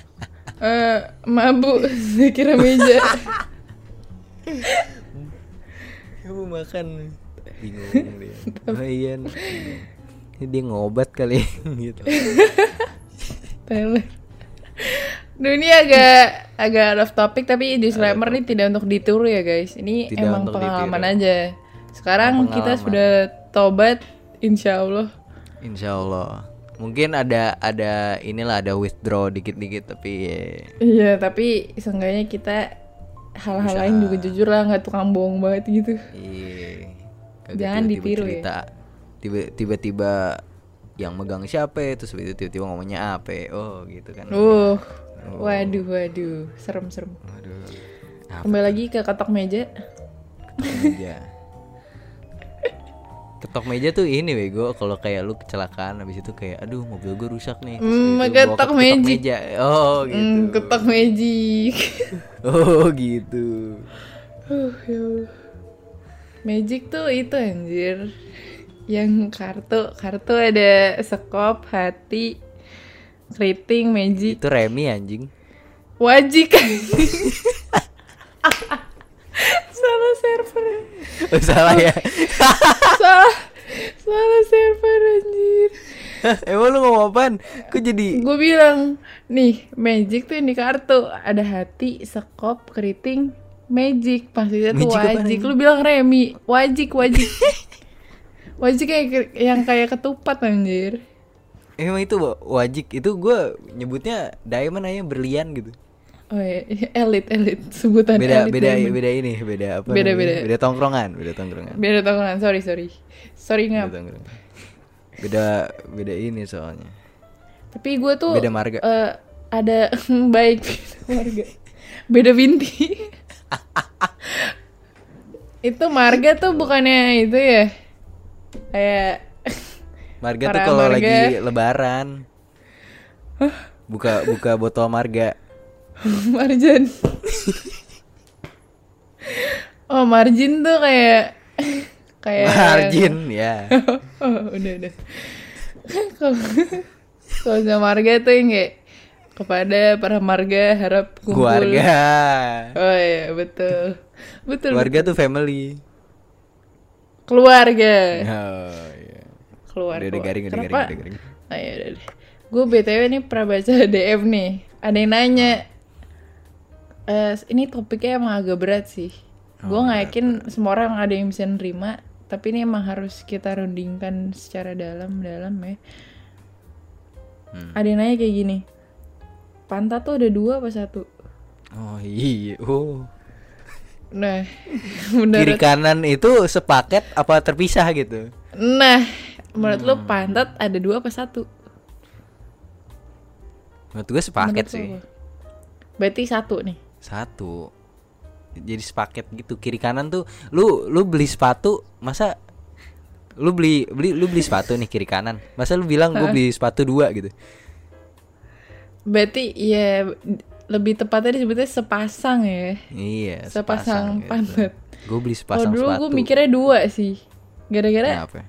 Speaker 2: eh, mabuk, saya kira meja.
Speaker 1: kamu makan bingung dia oh, iya Nak. Ini dia ngobat kali gitu
Speaker 2: Tyler. Duh ini agak agak off topic tapi disclaimer nih tidak untuk ditiru ya guys. Ini
Speaker 1: Tidak
Speaker 2: emang
Speaker 1: untuk ditiru.
Speaker 2: pengalaman aja. Sekarang
Speaker 1: Emang
Speaker 2: kita
Speaker 1: pengalaman.
Speaker 2: sudah tobat insya Allah.
Speaker 1: Insya Allah mungkin ada ada inilah ada withdraw dikit-dikit tapi eh,
Speaker 2: Iya tapi seenggaknya kita hal-hal lain juga jujur lah nggak tukang bohong banget gitu.
Speaker 1: Iya. Kagak
Speaker 2: Jangan
Speaker 1: tiba-tiba
Speaker 2: ditiru ya.
Speaker 1: cerita. Tiba- Tiba-tiba yang megang siapa ya, terus itu tiba-tiba ngomongnya apa ya. Oh gitu kan.
Speaker 2: Uh, waduh waduh serem-serem.
Speaker 1: Aduh. Apa
Speaker 2: Kembali lagi ke ketok meja.
Speaker 1: ketok meja. Ketok meja tuh ini bego kalau kayak lu kecelakaan habis itu kayak aduh mobil gue rusak nih. Terus
Speaker 2: Hmm,
Speaker 1: itu bawa
Speaker 2: ketok meja.
Speaker 1: Oh gitu.
Speaker 2: Hmm, ketok magic.
Speaker 1: Oh gitu.
Speaker 2: uh, ya Allah. Magic tuh itu anjir. Yang kartu, kartu ada sekop, hati, keriting, magic,
Speaker 1: Itu Remi anjing.
Speaker 2: wajik. salah server.
Speaker 1: Oh, salah ya.
Speaker 2: Salah. Salah server anjir.
Speaker 1: Emang lu ngomong apaan? Kok jadi
Speaker 2: Gue bilang, nih magic tuh yang di kartu. Ada hati, sekop, keriting, magic. Pas itu tuh
Speaker 1: Magic apaan
Speaker 2: wajik. Lu bilang remi, wajik, wajik. wajik kayak yang kayak ketupat anjir.
Speaker 1: Emang itu wa- wajik itu gue nyebutnya diamond aja berlian gitu.
Speaker 2: Oh iya, elit, elit. Sebutan
Speaker 1: Beda
Speaker 2: elit.
Speaker 1: beda
Speaker 2: memang.
Speaker 1: beda ini beda apa?
Speaker 2: Beda-
Speaker 1: namanya?
Speaker 2: beda.
Speaker 1: Beda tongkrongan beda tongkrongan.
Speaker 2: Beda tongkrongan, sorry, sorry. Sorry
Speaker 1: Beda
Speaker 2: ngap.
Speaker 1: tongkrongan. Beda beda ini soalnya.
Speaker 2: Tapi gue tuh...
Speaker 1: Beda marga.
Speaker 2: eh, ada baik beda marga. Beda binti. itu marga tuh bukannya itu ya? Kayak
Speaker 1: Marga tuh
Speaker 2: Para
Speaker 1: kalau
Speaker 2: marga.
Speaker 1: lagi lebaran buka buka botol marga.
Speaker 2: Margin. oh, margin tuh kayak kayak
Speaker 1: Margin ya.
Speaker 2: oh, udah udah. Kalau kalau sama marga tuh yang kayak kepada para marga harap kumpul.
Speaker 1: Keluarga.
Speaker 2: Oh iya, betul. Betul.
Speaker 1: Keluarga tuh family.
Speaker 2: Keluarga.
Speaker 1: Oh, iya.
Speaker 2: Keluar.
Speaker 1: Udah, udah
Speaker 2: keluar.
Speaker 1: garing, udah garing,
Speaker 2: Kenapa?
Speaker 1: udah garing.
Speaker 2: Oh, iya, udah, udah. Gue BTW nih pernah baca DM nih. Ada yang nanya.
Speaker 1: Ah.
Speaker 2: Eh, ini topiknya emang agak berat sih.
Speaker 1: Oh,
Speaker 2: Gue nggak yakin semua orang ada yang bisa nerima. Tapi ini emang harus kita rundingkan secara dalam-dalam ya.
Speaker 1: Hmm.
Speaker 2: Ada yang nanya kayak gini. Pantat tuh ada dua apa satu?
Speaker 1: Oh iya. Oh.
Speaker 2: Nah,
Speaker 1: Kiri
Speaker 2: menurut
Speaker 1: kanan itu sepaket apa terpisah gitu?
Speaker 2: Nah, menurut
Speaker 1: Hmm.
Speaker 2: lu pantat ada dua apa satu?
Speaker 1: Menurut gue sepaket
Speaker 2: Menurut lu
Speaker 1: sih.
Speaker 2: apa? Berarti satu nih.
Speaker 1: Satu. Jadi sepaket gitu. Kiri kanan tuh lu lu beli sepatu, masa lu beli beli lu beli sepatu nih kiri kanan. Masa lu bilang gue beli sepatu dua gitu.
Speaker 2: Berarti ya lebih tepatnya disebutnya sepasang ya.
Speaker 1: Iya,
Speaker 2: Sepasang pantat.
Speaker 1: Gue beli
Speaker 2: Kalau
Speaker 1: sepasang
Speaker 2: dulu
Speaker 1: sepatu. Ya. Nah,
Speaker 2: gue mikirnya dua sih. Gara-gara
Speaker 1: Kenapa?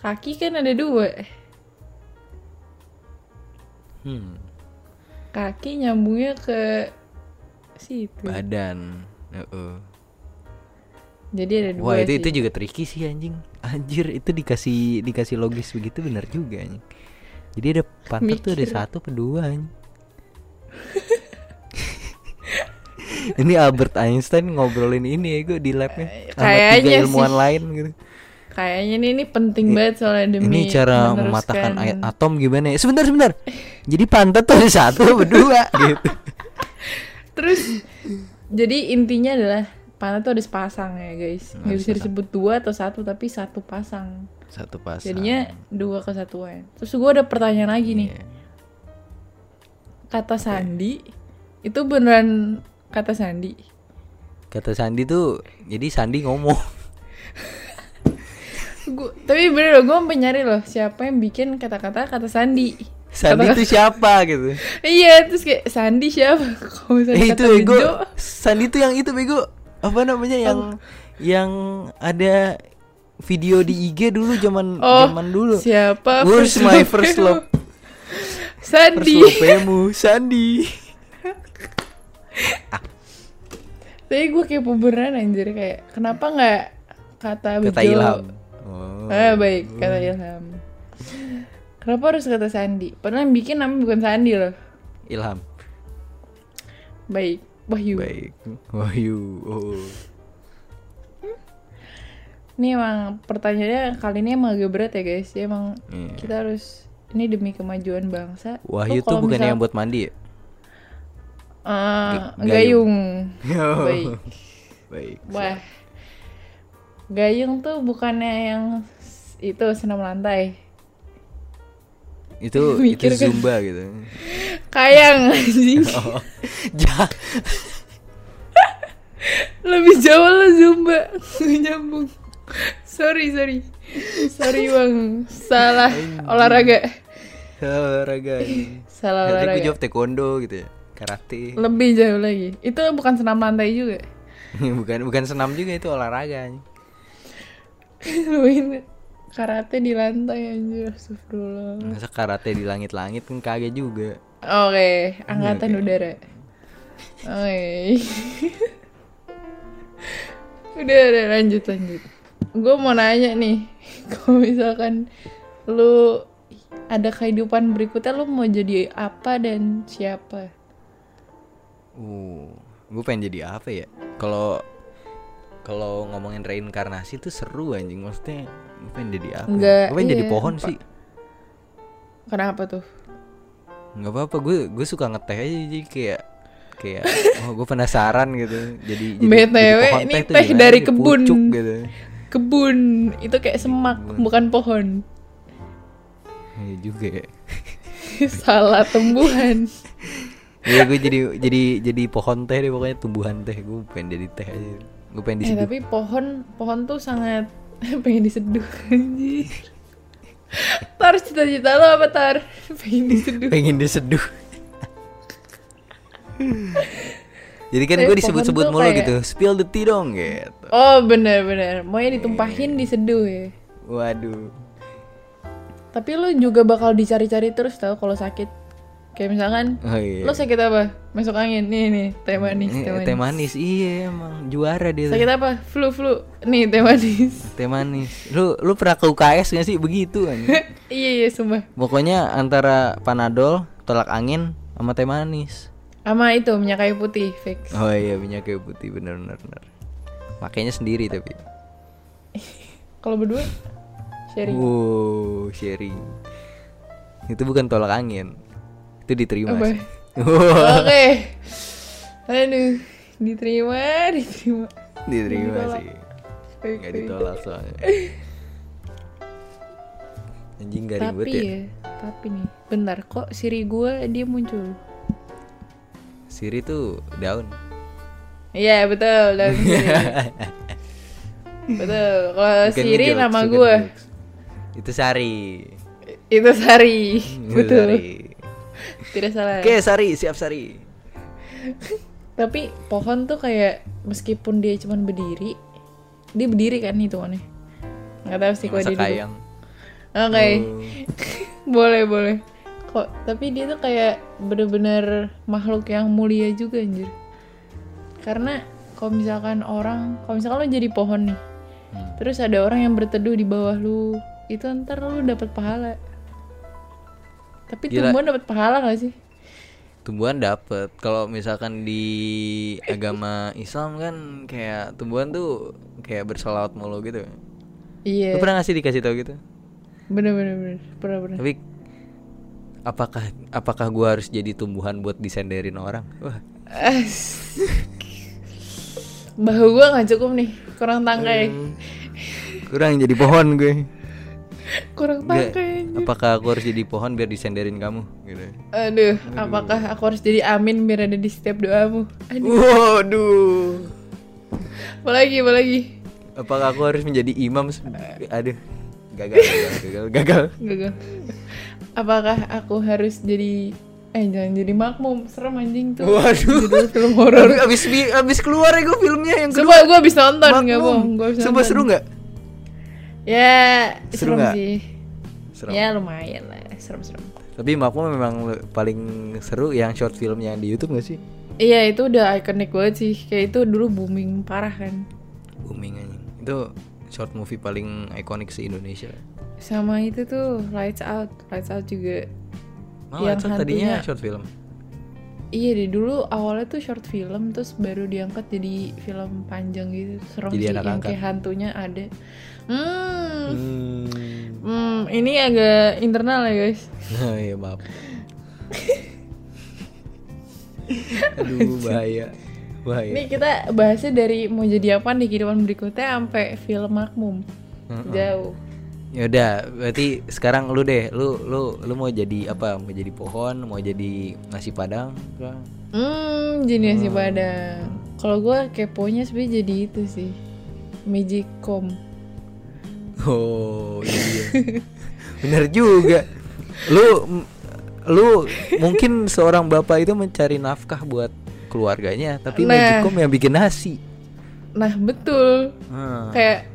Speaker 2: kaki kan ada dua.
Speaker 1: Hmm,
Speaker 2: Kaki nyambungnya ke situ.
Speaker 1: badan. Heeh.
Speaker 2: Jadi ada dua
Speaker 1: Wah, itu
Speaker 2: sih.
Speaker 1: itu juga tricky sih anjing. Anjir, itu dikasih dikasih logis begitu benar juga anjing. Jadi ada pantat tuh ada
Speaker 2: Mikir.
Speaker 1: satu apa dua anjing. ini Albert Einstein ngobrolin ini ya gue di labnya sama tiga
Speaker 2: Eh, Kayaknya
Speaker 1: ilmuwan
Speaker 2: sih.
Speaker 1: lain gitu.
Speaker 2: Kayaknya ini, ini penting banget
Speaker 1: ini
Speaker 2: soalnya demi
Speaker 1: cara
Speaker 2: meneruskan-
Speaker 1: mematahkan ayat atom gimana ya? Sebentar sebentar. Jadi pantat tuh ada satu apa dua gitu.
Speaker 2: Terus jadi intinya adalah pantat tuh ada sepasang ya guys. Gak bisa disebut dua atau satu tapi satu pasang.
Speaker 1: Satu pasang.
Speaker 2: Jadinya dua kesatuan. Terus gue ada pertanyaan lagi nih.
Speaker 1: Iya.
Speaker 2: Kata Sandi itu beneran kata Sandi.
Speaker 1: Kata Sandi tuh jadi Sandi ngomong.
Speaker 2: Gua, tapi bener loh gue nyari loh siapa yang bikin kata-kata kata Sandi.
Speaker 1: Sandi itu siapa gitu
Speaker 2: iya terus kayak Sandi siapa kalau misalnya
Speaker 1: eh,
Speaker 2: kata
Speaker 1: itu bego
Speaker 2: Bejo,
Speaker 1: Sandi itu yang itu bego apa namanya yang yang ada video di IG dulu zaman
Speaker 2: Oh,
Speaker 1: zaman dulu
Speaker 2: siapa
Speaker 1: Where's
Speaker 2: first
Speaker 1: my
Speaker 2: love
Speaker 1: first
Speaker 2: you?
Speaker 1: love first
Speaker 2: Sandi
Speaker 1: love-mu Sandi
Speaker 2: tapi gue kayak beneran anjir kayak kenapa nggak kata Bejo
Speaker 1: kata Ilham oh.
Speaker 2: ah baik kata Ilham kenapa harus kata Sandi padahal yang bikin namanya bukan Sandi loh
Speaker 1: Ilham
Speaker 2: baik Wahyu
Speaker 1: baik Wahyu oh.
Speaker 2: Ini emang pertanyaannya kali ini emang agak berat ya guys. Ya, emang
Speaker 1: Iya.
Speaker 2: kita harus ini demi kemajuan bangsa.
Speaker 1: Wahyu
Speaker 2: Lo kalau
Speaker 1: tuh bukan
Speaker 2: misal-
Speaker 1: yang buat mandi ya?
Speaker 2: Eh,
Speaker 1: Ga-
Speaker 2: gayung.
Speaker 1: Oh,
Speaker 2: Baik.
Speaker 1: baik
Speaker 2: Wah. Gayung tuh bukannya yang s- itu senam lantai.
Speaker 1: itu itu
Speaker 2: Mikir kan.
Speaker 1: zumba gitu
Speaker 2: Kayang anjing.
Speaker 1: oh. ja
Speaker 2: Lebih jauh lo Zumba. Nggak nyambung. Sorry, sorry. Sorry, Bang. Salah olahraga.
Speaker 1: olahraga ini.
Speaker 2: Salah
Speaker 1: Nanti gue
Speaker 2: olahraga.
Speaker 1: jawab taekwondo gitu ya karate
Speaker 2: Lebih jauh lagi. Itu bukan senam lantai juga.
Speaker 1: bukan bukan senam juga itu olahraga anjing.
Speaker 2: Luin karate di lantai anjir, astagfirullah.
Speaker 1: masa karate di langit-langit kan kaget juga
Speaker 2: Oke, angkatan udara. Oke. udah, udah lanjut lanjut. Gue mau nanya nih, kalau misalkan lu ada kehidupan berikutnya lu mau jadi apa dan siapa?
Speaker 1: uh gue pengen jadi apa ya kalau kalau ngomongin reinkarnasi tuh seru anjing maksudnya gue pengen jadi apa
Speaker 2: Nggak,
Speaker 1: gue pengen jadi
Speaker 2: iya,
Speaker 1: pohon
Speaker 2: apa-
Speaker 1: sih
Speaker 2: Kenapa tuh?
Speaker 1: nggak apa-apa gue gue suka ngeteh aja jadi kayak kayak oh gue penasaran gitu jadi jadi,
Speaker 2: BTW,
Speaker 1: jadi pohon
Speaker 2: ini
Speaker 1: tuh
Speaker 2: teh
Speaker 1: gimana
Speaker 2: dari
Speaker 1: sih,
Speaker 2: kebun.
Speaker 1: pucuk gitu
Speaker 2: Kebun itu kayak semak, bukan pohon.
Speaker 1: Iya juga ya
Speaker 2: Salah tumbuhan.
Speaker 1: Iya gue jadi jadi jadi pohon teh deh pokoknya tumbuhan teh gue pengen jadi teh aja gue pengen
Speaker 2: Eh,
Speaker 1: diseduh
Speaker 2: tapi pohon pohon tuh sangat pengen diseduh anjir. Tar cita-cita lo apa Tar? Pengen diseduh.
Speaker 1: pengen diseduh jadi kan
Speaker 2: Tapi
Speaker 1: gue
Speaker 2: pohon ya?
Speaker 1: disebut-sebut
Speaker 2: tuh
Speaker 1: mulu
Speaker 2: kayak-
Speaker 1: gitu spill the tea dong gitu
Speaker 2: Oh bener-bener, maunya ditumpahin diseduh ya.
Speaker 1: waduh
Speaker 2: Tapi lo juga bakal dicari-cari terus tau kalau sakit. Kayak misalkan
Speaker 1: oh iya
Speaker 2: lo sakit apa? Masuk angin nih nih teh manis
Speaker 1: Eh,
Speaker 2: teh
Speaker 1: teh manis
Speaker 2: manis.
Speaker 1: iya emang juara dia tuh.
Speaker 2: Sakit apa? Flu flu nih teh manis.
Speaker 1: teh manis lu lu pernah ke UKS gak sih begitu anjing
Speaker 2: iya iya sumpah.
Speaker 1: Pokoknya antara panadol, tolak angin, sama teh manis.
Speaker 2: Sama itu minyak kayu putih fix.
Speaker 1: Oh iya minyak kayu putih bener bener. bener. Makainya sendiri tapi.
Speaker 2: Kalau berdua
Speaker 1: Uh.
Speaker 2: sharing.
Speaker 1: Wow sharing. Itu bukan tolak angin. Itu diterima.
Speaker 2: Apa?
Speaker 1: sih. Wow,
Speaker 2: Oke. Aduh, diterima, diterima.
Speaker 1: diterima
Speaker 2: Nggak ditolak.
Speaker 1: sih.
Speaker 2: Baik,
Speaker 1: Gak
Speaker 2: baik.
Speaker 1: ditolak soalnya. Anjing garing
Speaker 2: Tapi
Speaker 1: banget
Speaker 2: ya.
Speaker 1: ya.
Speaker 2: tapi nih, bentar kok siri gua dia muncul.
Speaker 1: Siri tuh daun.
Speaker 2: Iya, betul, dan siri. betul. Kalau
Speaker 1: Bukan
Speaker 2: Eh, siri
Speaker 1: ngejokes,
Speaker 2: nama
Speaker 1: bukan
Speaker 2: gua
Speaker 1: ngejokes. Itu Sari.
Speaker 2: itu Sari.
Speaker 1: Itu
Speaker 2: betul. Eh.
Speaker 1: Sari.
Speaker 2: Tidak salah.
Speaker 1: Oke, Sari, siap Sari.
Speaker 2: Tapi pohon tuh kayak meskipun dia cuman berdiri, dia berdiri kan hitungannya. Nggak tahu sih kalau
Speaker 1: Masa
Speaker 2: dia duduk.
Speaker 1: kayang.
Speaker 2: Oke.
Speaker 1: Oh.
Speaker 2: boleh, boleh. Kok tapi dia tuh kayak bener-bener makhluk yang mulia juga anjir. Karena kalau misalkan orang, kalau misalkan lo jadi pohon nih.
Speaker 1: Hmm.
Speaker 2: Terus ada orang yang berteduh di bawah lu, itu ntar lu dapat pahala. Tapi
Speaker 1: Gila.
Speaker 2: tumbuhan dapat pahala gak sih?
Speaker 1: Tumbuhan dapat. Kalau misalkan di agama Islam kan kayak tumbuhan tuh kayak bersolawat mulu gitu. Lu
Speaker 2: Iya.
Speaker 1: pernah gak sih dikasih tau gitu?
Speaker 2: Bener bener bener. Pernah pernah.
Speaker 1: Tapi apakah apakah gua harus jadi tumbuhan buat disenderin orang? Wah,
Speaker 2: As. Bahu gua nggak cukup nih, kurang tangkai.
Speaker 1: Hmm. kurang jadi pohon gue.
Speaker 2: Kurang
Speaker 1: Nggak,
Speaker 2: tangkai.
Speaker 1: apakah aku harus jadi pohon biar disenderin kamu? Gitu.
Speaker 2: Aduh, apakah aku harus jadi amin biar ada di setiap doamu? Aduh,
Speaker 1: Waduh.
Speaker 2: apalagi, apalagi.
Speaker 1: Apakah aku harus menjadi imam? se- Aduh, gagal, gagal, gagal. gagal.
Speaker 2: Gagal. apakah aku harus jadi eh jangan jadi makmum serem anjing tuh
Speaker 1: Waduh.
Speaker 2: judul film horor
Speaker 1: Abis, abis, bi- abis keluar ya gue filmnya yang kedua.
Speaker 2: Sumpah gue habis nonton nggak bohong gue habis
Speaker 1: Sumpah
Speaker 2: nonton.
Speaker 1: seru nggak?
Speaker 2: ya
Speaker 1: Seru
Speaker 2: serem
Speaker 1: nggak?
Speaker 2: sih
Speaker 1: Seru.
Speaker 2: ya lumayan lah serem serem
Speaker 1: Tapi Makmum memang paling seru yang short filmnya di YouTube gak sih?
Speaker 2: iya itu udah ikonik banget sih kayak itu dulu booming parah kan
Speaker 1: Booming anjing. Itu short movie paling ikonik se Indonesia.
Speaker 2: sama itu tuh lights out lights out juga
Speaker 1: Mau
Speaker 2: Yang
Speaker 1: Edson tadinya
Speaker 2: hantunya-
Speaker 1: short film.
Speaker 2: iya deh dulu awalnya tuh short film terus baru diangkat jadi film panjang gitu serem
Speaker 1: Jadi
Speaker 2: sih
Speaker 1: anak
Speaker 2: yang
Speaker 1: angkat.
Speaker 2: kayak hantunya ada hmm
Speaker 1: Hmm.
Speaker 2: Hmm, ini agak internal ya guys.
Speaker 1: Nah, iya maaf. Aduh bahaya.
Speaker 2: Ini
Speaker 1: Bahaya.
Speaker 2: kita bahasnya dari mau jadi apa di kehidupan berikutnya sampai film makmum. Jauh.
Speaker 1: Ya udah, berarti sekarang lu deh, lu lu lu mau jadi apa? Mau jadi pohon, mau jadi nasi padang? kah?
Speaker 2: Hmm, jenis sih pada. Kalau gue keponya sebenarnya jadi itu sih. Magicom.
Speaker 1: Oh iya, bener juga. Lu m- lu mungkin seorang bapak itu mencari nafkah buat keluarganya, tapi
Speaker 2: Nah.
Speaker 1: magicom yang bikin nasi.
Speaker 2: Nah, betul.
Speaker 1: Hmm.
Speaker 2: Kayak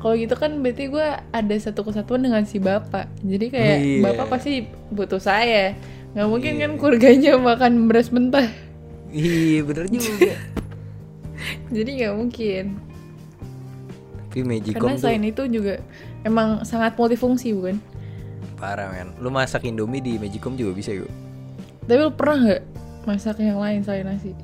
Speaker 2: kalau gitu kan berarti gue ada satu kesatuan dengan si bapak. Jadi kayak
Speaker 1: Iya.
Speaker 2: bapak pasti butuh saya. Nggak mungkin kan keluarganya makan beras mentah.
Speaker 1: Iya bener juga.
Speaker 2: Jadi nggak mungkin.
Speaker 1: tapi magicom
Speaker 2: Karena
Speaker 1: tuh
Speaker 2: selain itu juga emang sangat multifungsi bukan?
Speaker 1: parah men. Lu masak indomie di magicom juga bisa yuk.
Speaker 2: Tapi lu pernah nggak masak yang lain selain nasi?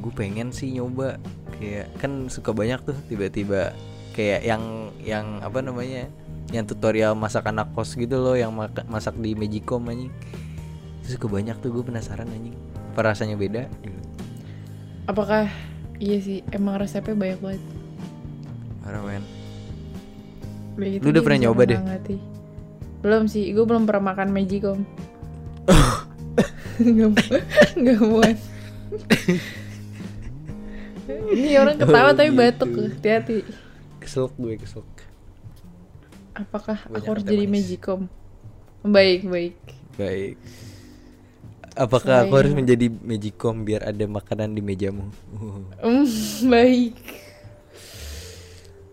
Speaker 1: Gue pengen sih nyoba. Kayak kan suka banyak tuh tiba-tiba kayak yang yang apa namanya? Yang tutorial masak anak kos gitu loh yang maka- masak di magicom anjing. Terus suka banyak tuh gue penasaran anjing. Apa rasanya beda? Gitu.
Speaker 2: Apakah iya sih emang resepnya banyak banget.
Speaker 1: Parah men.
Speaker 2: Udah gitu
Speaker 1: Lu udah
Speaker 2: dia
Speaker 1: pernah
Speaker 2: bisa
Speaker 1: nyoba deh?
Speaker 2: menghangati. Belum sih, gue belum pernah makan magicom. Nggak mu- nggak muat. Ini orang ketawa
Speaker 1: Oh,
Speaker 2: tapi
Speaker 1: gitu.
Speaker 2: batuk, hati-hati.
Speaker 1: Keselok gue keselok.
Speaker 2: Apakah aku
Speaker 1: Banyak
Speaker 2: harus
Speaker 1: teh
Speaker 2: jadi
Speaker 1: manis.
Speaker 2: magicom? Baik, baik.
Speaker 1: Baik. Apakah aku
Speaker 2: Selain-
Speaker 1: harus menjadi magicom biar ada makanan di mejamu?
Speaker 2: Hmm, baik.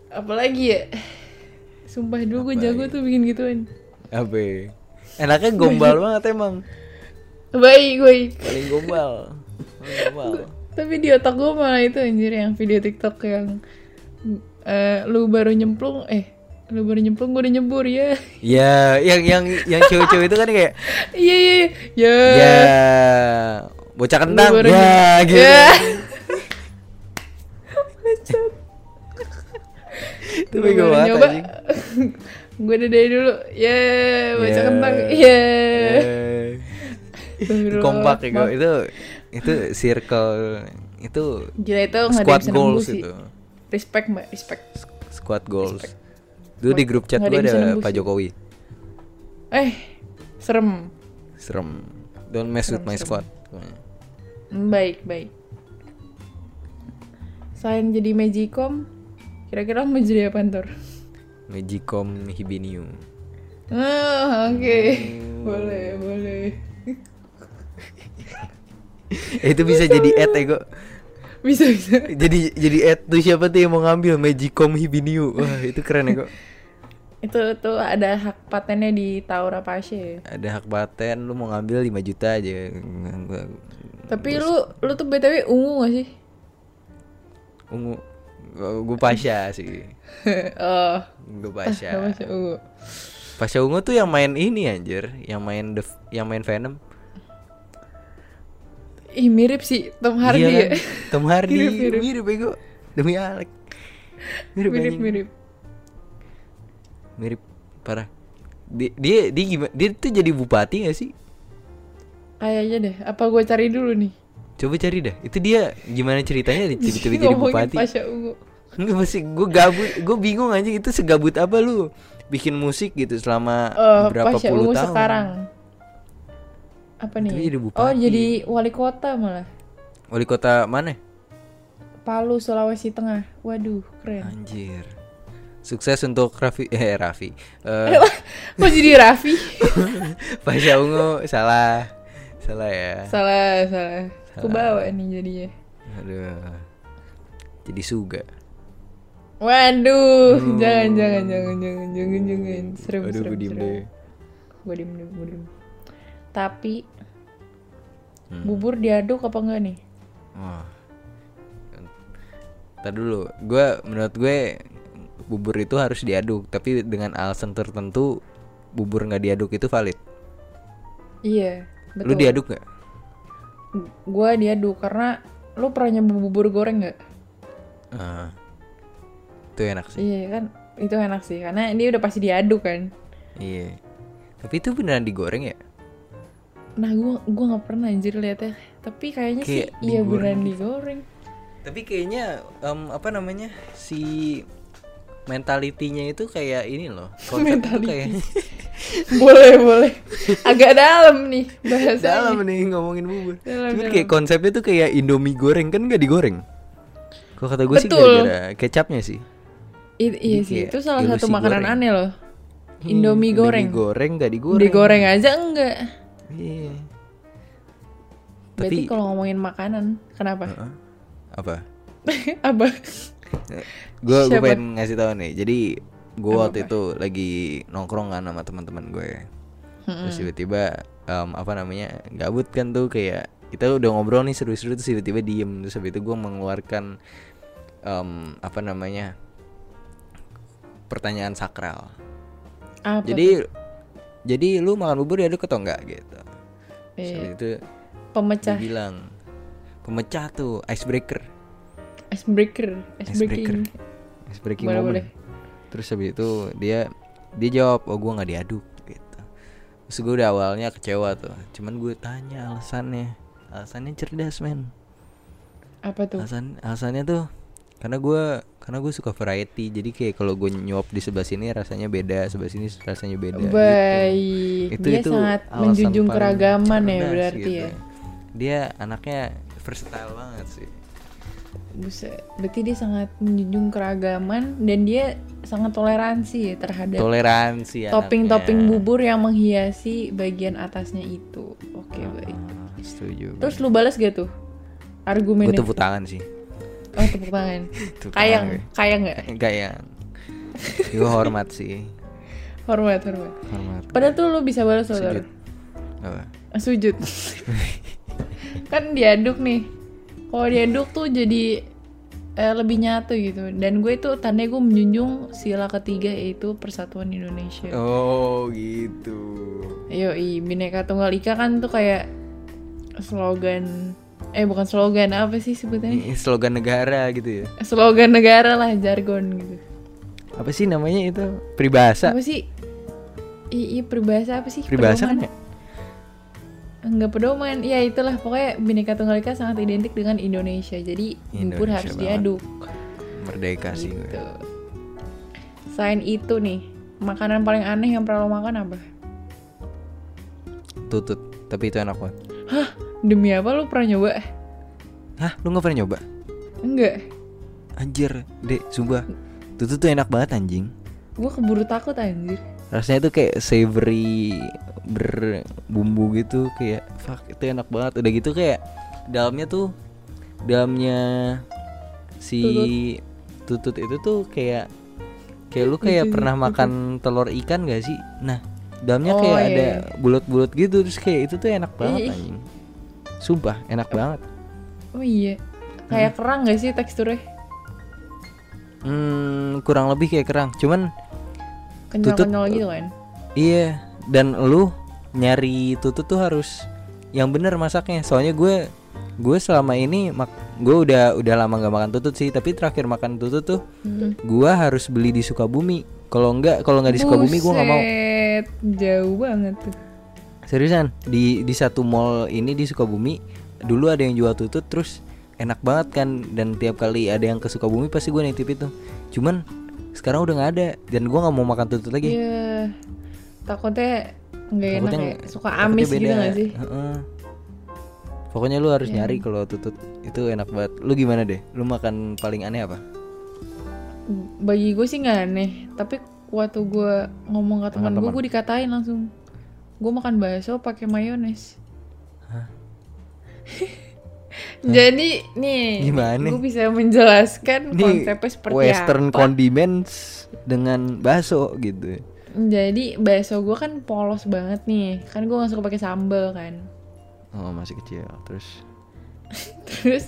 Speaker 2: Apalagi ya? Sumpah dulu gue
Speaker 1: Apa
Speaker 2: jago
Speaker 1: ya?
Speaker 2: tuh bikin gituan.
Speaker 1: Apa? ya? Enaknya gombal banget emang.
Speaker 2: Baik, baik.
Speaker 1: Paling gombal. Paling gombal.
Speaker 2: Tapi di otak gue malah itu anjir yang video TikTok yang eh, lu baru nyemplung eh lu baru nyemplung gue udah nyebur ya.
Speaker 1: Ya, yang yang yang cewek-cewek itu kan kayak
Speaker 2: Iya iya iya. Ya.
Speaker 1: ya bocah kentang
Speaker 2: baru
Speaker 1: ya
Speaker 2: di-
Speaker 1: gitu.
Speaker 2: Ya.
Speaker 1: Itu
Speaker 2: Lu
Speaker 1: bego
Speaker 2: baru
Speaker 1: banget,
Speaker 2: nyoba.
Speaker 1: anjing.
Speaker 2: gue udah dari dulu. Ya, baca
Speaker 1: Ya.
Speaker 2: kentang. Ya.
Speaker 1: Ya.
Speaker 2: Astagfirullah.
Speaker 1: Kompak ya
Speaker 2: Maaf.
Speaker 1: itu itu circle itu
Speaker 2: Gila itu nggak ada yang
Speaker 1: squad
Speaker 2: bisa nembus
Speaker 1: goals
Speaker 2: sih.
Speaker 1: itu.
Speaker 2: Respect mbak, respect.
Speaker 1: Squad goals. Dulu di grup chat
Speaker 2: Nggak ada
Speaker 1: gue
Speaker 2: yang bisa
Speaker 1: ada
Speaker 2: nembus
Speaker 1: Pak
Speaker 2: sih.
Speaker 1: Jokowi.
Speaker 2: Eh, serem.
Speaker 1: Serem. Don't mess with
Speaker 2: Serem,
Speaker 1: my
Speaker 2: serem.
Speaker 1: squad.
Speaker 2: Hmm, Baik, baik. Selain jadi magicom, kira-kira mau jadi apa ntar?
Speaker 1: Magicom Hibinium.
Speaker 2: Ah, oke.
Speaker 1: Hmm.
Speaker 2: Boleh, boleh.
Speaker 1: Eh, itu bisa jadi ad ego.
Speaker 2: Bisa, bisa.
Speaker 1: Jadi jadi ad tuh siapa tuh yang mau ngambil Magicom Hibinium. Wah, itu keren ya kok.
Speaker 2: Itu tuh ada hak patennya di Taura Pasha. ya.
Speaker 1: Ada hak paten lu mau ngambil 5 juta aja.
Speaker 2: Tapi lu lu tuh BTW ungu gak sih?
Speaker 1: Ungu. Gue Pasha sih.
Speaker 2: oh,
Speaker 1: Gue
Speaker 2: gak
Speaker 1: Pasha.
Speaker 2: masuk ungu.
Speaker 1: Pasha Ungu tuh yang main ini anjir, yang main the, yang main Venom.
Speaker 2: Ih, mirip sih Tom Hardy
Speaker 1: Iya
Speaker 2: ya.
Speaker 1: kan? Tom Hardy mirip
Speaker 2: Mirip,
Speaker 1: mirip
Speaker 2: mirip.
Speaker 1: bego. Demi Alek. Mirip
Speaker 2: Mirip,
Speaker 1: anjing.
Speaker 2: mirip.
Speaker 1: mirip parah. Di- Dia, dia gimana? Dia tuh jadi bupati gak sih?
Speaker 2: Kayaknya deh, apa gue cari dulu nih?
Speaker 1: Coba cari dah. Itu dia gimana ceritanya tiba-tiba jadi
Speaker 2: Ngomongin
Speaker 1: bupati?
Speaker 2: Pasha ungu.
Speaker 1: Enggak masih gue gabut, gue bingung aja itu segabut apa lu bikin musik gitu selama
Speaker 2: Eh,
Speaker 1: berapa
Speaker 2: Pasha
Speaker 1: puluh
Speaker 2: Ungu
Speaker 1: tahun.
Speaker 2: sekarang apa nih?
Speaker 1: Tapi jadi bupati.
Speaker 2: Oh jadi wali kota malah
Speaker 1: Wali
Speaker 2: Eh.
Speaker 1: kota mana?
Speaker 2: Palu Sulawesi Tengah. Waduh keren.
Speaker 1: Anjir. Sukses untuk Raffi eh Raffi. Eh,
Speaker 2: Kok jadi Raffi?
Speaker 1: Pasha Ungu salah. Salah ya.
Speaker 2: salah, salah. Aku bawa nih jadinya.
Speaker 1: Aduh. Jadi suga.
Speaker 2: Waduh, jangan, jangan, jangan, jangan, jangan, jangan. Serem,
Speaker 1: Aduh gue
Speaker 2: serem,
Speaker 1: Hmm. diem
Speaker 2: serem.
Speaker 1: deh.
Speaker 2: Gue diem deh, gue diem. Tapi
Speaker 1: Hmm.
Speaker 2: bubur diaduk apa enggak nih?
Speaker 1: Wah. Ntar dulu. Gue menurut gue bubur itu harus diaduk, tapi dengan alasan tertentu bubur nggak diaduk itu valid.
Speaker 2: Iya,
Speaker 1: Lu
Speaker 2: betul.
Speaker 1: diaduk nggak?
Speaker 2: Gue diaduk karena lu pernah nyoba bubur goreng nggak?
Speaker 1: Ah. Itu enak sih.
Speaker 2: Iya kan, itu enak sih karena dia udah pasti diaduk kan.
Speaker 1: Iya. Tapi itu beneran digoreng ya?
Speaker 2: Nah, gue gua nggak pernah anjir liatnya. Tapi kayaknya
Speaker 1: Kayak
Speaker 2: sih iya
Speaker 1: digoreng gitu.
Speaker 2: beneran digoreng.
Speaker 1: Tapi kayaknya em, apa namanya si mentalitinya itu kayak ini loh. Konsep itu
Speaker 2: Mentality.
Speaker 1: kayak
Speaker 2: boleh, boleh. Agak dalam nih bahasanya.
Speaker 1: dalam nih ngomongin bubur.
Speaker 2: Dalam,
Speaker 1: Cuman kayak konsepnya tuh kayak Indomie goreng kan nggak digoreng. Kalau kata gue sih
Speaker 2: Betul.
Speaker 1: gara-gara kecapnya sih.
Speaker 2: I- iya
Speaker 1: Jadi
Speaker 2: sih,
Speaker 1: kayak
Speaker 2: itu salah
Speaker 1: ilusi
Speaker 2: satu makanan
Speaker 1: goreng.
Speaker 2: aneh loh. Indomie goreng.
Speaker 1: goreng nggak digoreng.
Speaker 2: Digoreng aja enggak.
Speaker 1: Iya.
Speaker 2: Berarti
Speaker 1: Tapi Hmm.
Speaker 2: kalau ngomongin makanan, kenapa?
Speaker 1: Hah? apa?
Speaker 2: Apa?
Speaker 1: Gue gue
Speaker 2: Siapa?
Speaker 1: pengen ngasih tahu nih. Jadi gue waktu itu lagi nongkrong kan sama teman-teman gue. Terus tiba-tiba em, apa namanya gabut kan tuh kayak kita udah ngobrol nih seru-seru terus tiba-tiba diem terus habis itu gue mengeluarkan em, apa namanya pertanyaan sakral.
Speaker 2: Apa?
Speaker 1: Jadi jadi lu makan bubur diaduk atau enggak gitu. Terus
Speaker 2: Eh,
Speaker 1: habis itu
Speaker 2: pemecah
Speaker 1: dibilang pemecah tuh icebreaker.
Speaker 2: icebreaker,
Speaker 1: Icebreaker.
Speaker 2: icebreaking.
Speaker 1: Ice breaking
Speaker 2: Boleh,
Speaker 1: moment.
Speaker 2: boleh.
Speaker 1: Terus habis itu dia dia jawab, "Oh, gua nggak diaduk." gitu. Terus gue udah awalnya kecewa tuh. Cuman gue tanya alasannya. Alasannya cerdas, men.
Speaker 2: Apa tuh?
Speaker 1: Alasan alasannya tuh karena gua karena gue suka variety. Jadi kayak kalau gue nyuap di sebelah sini rasanya beda, sebelah sini rasanya beda. gitu.
Speaker 2: Baik.
Speaker 1: Itu
Speaker 2: Dia
Speaker 1: itu
Speaker 2: sangat
Speaker 1: alasan
Speaker 2: menjunjung
Speaker 1: paling
Speaker 2: keragaman ya
Speaker 1: cerdas
Speaker 2: berarti
Speaker 1: gitu.
Speaker 2: ya.
Speaker 1: Dia anaknya versatile banget sih.
Speaker 2: Buset. Berarti dia sangat menjunjung keragaman dan dia sangat toleransi ya terhadap
Speaker 1: Toleransi
Speaker 2: topping-topping
Speaker 1: iya, anaknya.
Speaker 2: bubur yang menghiasi bagian atasnya itu. Oke, baik.
Speaker 1: Ah, Setuju.
Speaker 2: Terus lu balas gak tuh
Speaker 1: gue
Speaker 2: argumennya?
Speaker 1: tepuk tangan sih.
Speaker 2: Oh tepuk tangan.
Speaker 1: Tepuk
Speaker 2: Kayang,
Speaker 1: tangan gue.
Speaker 2: kayang nggak?
Speaker 1: Enggak ya. Gue hormat sih.
Speaker 2: Hormat, hormat.
Speaker 1: Hormat.
Speaker 2: Padahal tuh lu bisa balas loh.
Speaker 1: Sujud.
Speaker 2: Tor.
Speaker 1: Apa?
Speaker 2: Sujud. kan diaduk nih. Kalau diaduk tuh jadi eh, lebih nyatu gitu. Dan gue itu tandanya gue menjunjung sila ketiga yaitu persatuan Indonesia.
Speaker 1: Oh, gitu.
Speaker 2: Yoi, Bineka Tunggal Ika kan tuh kayak slogan eh bukan slogan apa sih sebutannya?
Speaker 1: Ini slogan negara gitu ya.
Speaker 2: slogan negara lah jargon gitu
Speaker 1: Apa sih namanya itu? Peribahasa.
Speaker 2: apa sih I, i peribahasa apa sih
Speaker 1: Peribahasa kan
Speaker 2: Pedoman.
Speaker 1: ya?
Speaker 2: enggak pedoman ya itulah pokoknya bineka tunggal ika sangat identik dengan Indonesia jadi bubur
Speaker 1: Indonesia
Speaker 2: harus
Speaker 1: banget.
Speaker 2: diaduk
Speaker 1: Merdeka sih gue.
Speaker 2: gitu selain itu nih makanan paling aneh yang pernah lo makan apa
Speaker 1: Tutut. Tapi itu enak banget.
Speaker 2: hah demi apa lo pernah nyoba
Speaker 1: Hah, lu gak pernah nyoba?
Speaker 2: enggak
Speaker 1: Anjir, Dek, sumpah. Tutut tuh enak banget anjing.
Speaker 2: gue keburu takut anjir
Speaker 1: Rasanya tuh kayak savory berbumbu gitu kayak fuck itu enak banget. Udah gitu kayak dalamnya tuh dalamnya si tutut, itu tuh kayak kayak lu kayak pernah makan telur ikan gak sih? Nah, dalamnya
Speaker 2: Oh,
Speaker 1: kayak
Speaker 2: iya,
Speaker 1: ada
Speaker 2: iya.
Speaker 1: bulat-bulat gitu terus kayak itu tuh enak
Speaker 2: Ih.
Speaker 1: banget anjing. Sumpah, enak banget.
Speaker 2: oh iya kayak kerang gak sih teksturnya
Speaker 1: Hmm, kurang lebih kayak kerang. Cuman
Speaker 2: kenyal
Speaker 1: Tutut-
Speaker 2: kenyal gitu kan
Speaker 1: Iya, dan lu nyari tutut tuh harus yang bener masaknya. Soalnya gue gue selama ini mak gue udah udah lama gak makan tutut sih, tapi terakhir makan tutut tuh
Speaker 2: Hmm.
Speaker 1: gue harus beli di Sukabumi. Kalau enggak kalau nggak di Sukabumi gue nggak mau.
Speaker 2: Buset, jauh banget tuh
Speaker 1: Seriusan, di di satu mall ini di Sukabumi dulu ada yang jual tutut terus enak banget kan dan tiap kali ada yang ke Sukabumi pasti gue nitip itu. Cuman sekarang udah nggak ada dan gue nggak mau makan tutut lagi.
Speaker 2: Iya. Takutnya nggak enak
Speaker 1: Takutnya
Speaker 2: ya. Suka
Speaker 1: takutnya
Speaker 2: amis gitu
Speaker 1: beda. ya.
Speaker 2: gak sih? Iya.
Speaker 1: Heeh. Pokoknya lu harus nyari kalau tutut itu enak banget. Lu gimana deh? Lu makan paling aneh apa?
Speaker 2: bagi gue sih nggak aneh tapi waktu gue ngomong ke teman gue
Speaker 1: teman.
Speaker 2: gue dikatain langsung gue makan bakso pakai mayones jadi nih
Speaker 3: Gimana?
Speaker 2: gue bisa menjelaskan
Speaker 1: Ini
Speaker 2: konsepnya seperti
Speaker 1: Western
Speaker 2: apa
Speaker 1: condiments dengan bakso gitu.
Speaker 2: jadi bakso gue kan polos banget nih kan gue nggak suka pakai sambal kan
Speaker 1: Oh masih kecil. Terus
Speaker 2: terus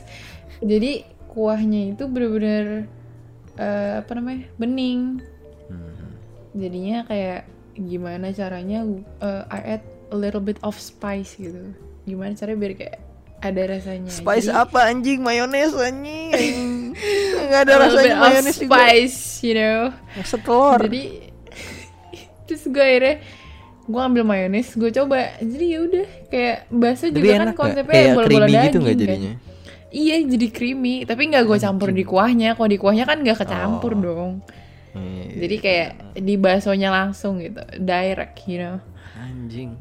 Speaker 2: jadi kuahnya itu bener-bener eh, apa namanya bening
Speaker 1: Hmm.
Speaker 2: jadinya kayak gimana caranya eh, I add a little bit of spice gitu gimana caranya biar kayak ada rasanya
Speaker 1: spice
Speaker 2: Ya, Jadi,
Speaker 1: apa anjing mayones anjing? Enggak ada
Speaker 2: a little
Speaker 1: rasanya
Speaker 2: bit of
Speaker 1: mayones juga.
Speaker 2: spice you know
Speaker 1: Setelor.
Speaker 2: jadi terus gue akhirnya gue ambil mayones gue coba jadi ya udah kayak bakso
Speaker 3: Tapi
Speaker 2: juga kan
Speaker 3: enak nggak?
Speaker 2: konsepnya
Speaker 1: Kayak
Speaker 2: bola-bola
Speaker 1: creamy
Speaker 2: daging
Speaker 1: gitu nggak
Speaker 2: kan.
Speaker 1: jadinya?
Speaker 2: iya jadi creamy tapi nggak gue campur di kuahnya kalau di kuahnya kan nggak kecampur
Speaker 1: Oh.
Speaker 2: dong
Speaker 1: Iya, iya.
Speaker 2: jadi kayak di baksonya langsung gitu direct you know
Speaker 1: anjing.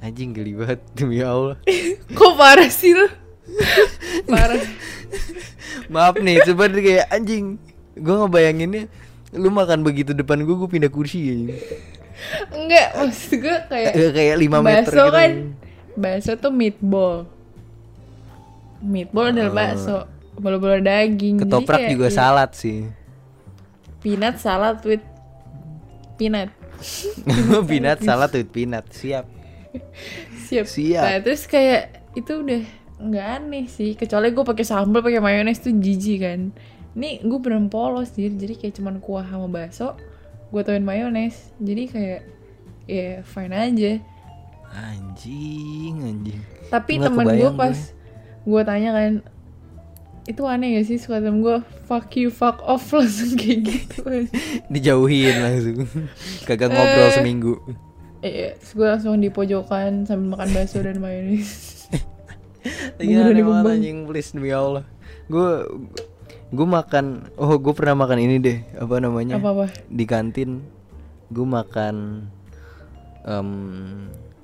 Speaker 1: Anjing geli banget demi Allah.
Speaker 2: kok parah sih lu parah
Speaker 1: Maaf nih, sebenernya kayak anjing. Gue ngebayanginnya lu makan begitu depan gue, gue pindah kursi ya.
Speaker 2: enggak maksud gue kayak
Speaker 1: Eh, kayak 5 meter
Speaker 2: bakso
Speaker 1: gitu.
Speaker 2: kan bakso tuh meatball meatball
Speaker 1: Oh.
Speaker 2: adalah bakso bola-bola daging Jadi
Speaker 3: Ketoprak
Speaker 2: kayak
Speaker 3: juga
Speaker 2: ya,
Speaker 3: salad sih.
Speaker 2: peanut salad with peanut
Speaker 1: pinat salah tuh pinat. Siap.
Speaker 2: siap
Speaker 1: Siap.
Speaker 2: nah terus kayak itu udah nggak aneh sih kecuali gue pakai sambal pakai mayones tuh jijik kan ini gue beneran polos jadi jadi kayak cuman kuah sama bakso gue tambahin mayones jadi kayak ya fine aja
Speaker 1: Anjing, anjing.
Speaker 2: tapi
Speaker 3: Nggak
Speaker 2: temen gue
Speaker 3: kebayang
Speaker 2: pas gue tanya kan itu aneh gak sih suka temen gue fuck you fuck off langsung kayak gitu
Speaker 1: Dijauhin langsung. Kagak ngobrol
Speaker 2: Eh.
Speaker 1: seminggu.
Speaker 2: eh terus gue langsung di pojokan sambil makan bakso dan mayones
Speaker 1: Iya,
Speaker 2: Gua udah
Speaker 1: aneh banget
Speaker 2: dikembang.
Speaker 1: anjing, please demi Allah. Gue gue makan oh gue pernah makan ini deh apa namanya
Speaker 2: apa apa
Speaker 1: di kantin gue makan em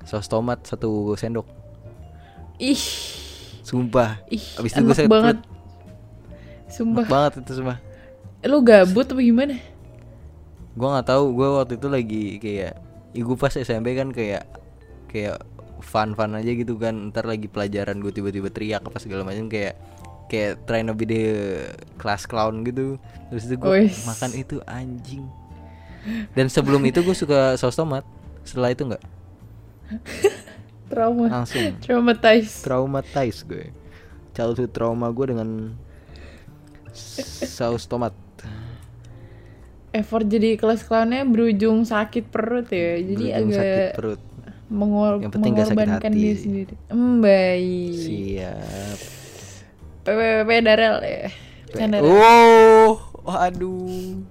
Speaker 1: saus tomat satu sendok
Speaker 2: ih
Speaker 1: sumpah
Speaker 2: ih
Speaker 1: Abis itu gua
Speaker 2: enak
Speaker 1: sakit
Speaker 2: banget
Speaker 1: Enak
Speaker 2: sumpah
Speaker 1: banget itu semua
Speaker 2: lu gabut apa gimana
Speaker 1: gue nggak tahu gue waktu itu lagi kayak ibu pas SMP kan kayak kayak fun fun aja gitu kan ntar lagi pelajaran gue tiba-tiba teriak apa segala macam kayak kayak trying to be the class clown gitu terus itu gue
Speaker 2: Wis.
Speaker 1: makan itu anjing dan sebelum itu gue suka saus tomat setelah itu nggak
Speaker 2: trauma
Speaker 1: langsung
Speaker 2: traumatized
Speaker 1: traumatize gue childhood trauma gue dengan s- saus tomat
Speaker 2: effort jadi kelas clownnya berujung sakit perut ya jadi
Speaker 1: Berujung sakit
Speaker 2: agak
Speaker 1: perut
Speaker 2: mengor-
Speaker 1: Yang penting nggak sakit
Speaker 2: mengorbankan
Speaker 1: hati.
Speaker 2: dia sendiri Hmm, baik
Speaker 1: siap
Speaker 2: PPP Darel ya Kan Darel.
Speaker 1: oh aduh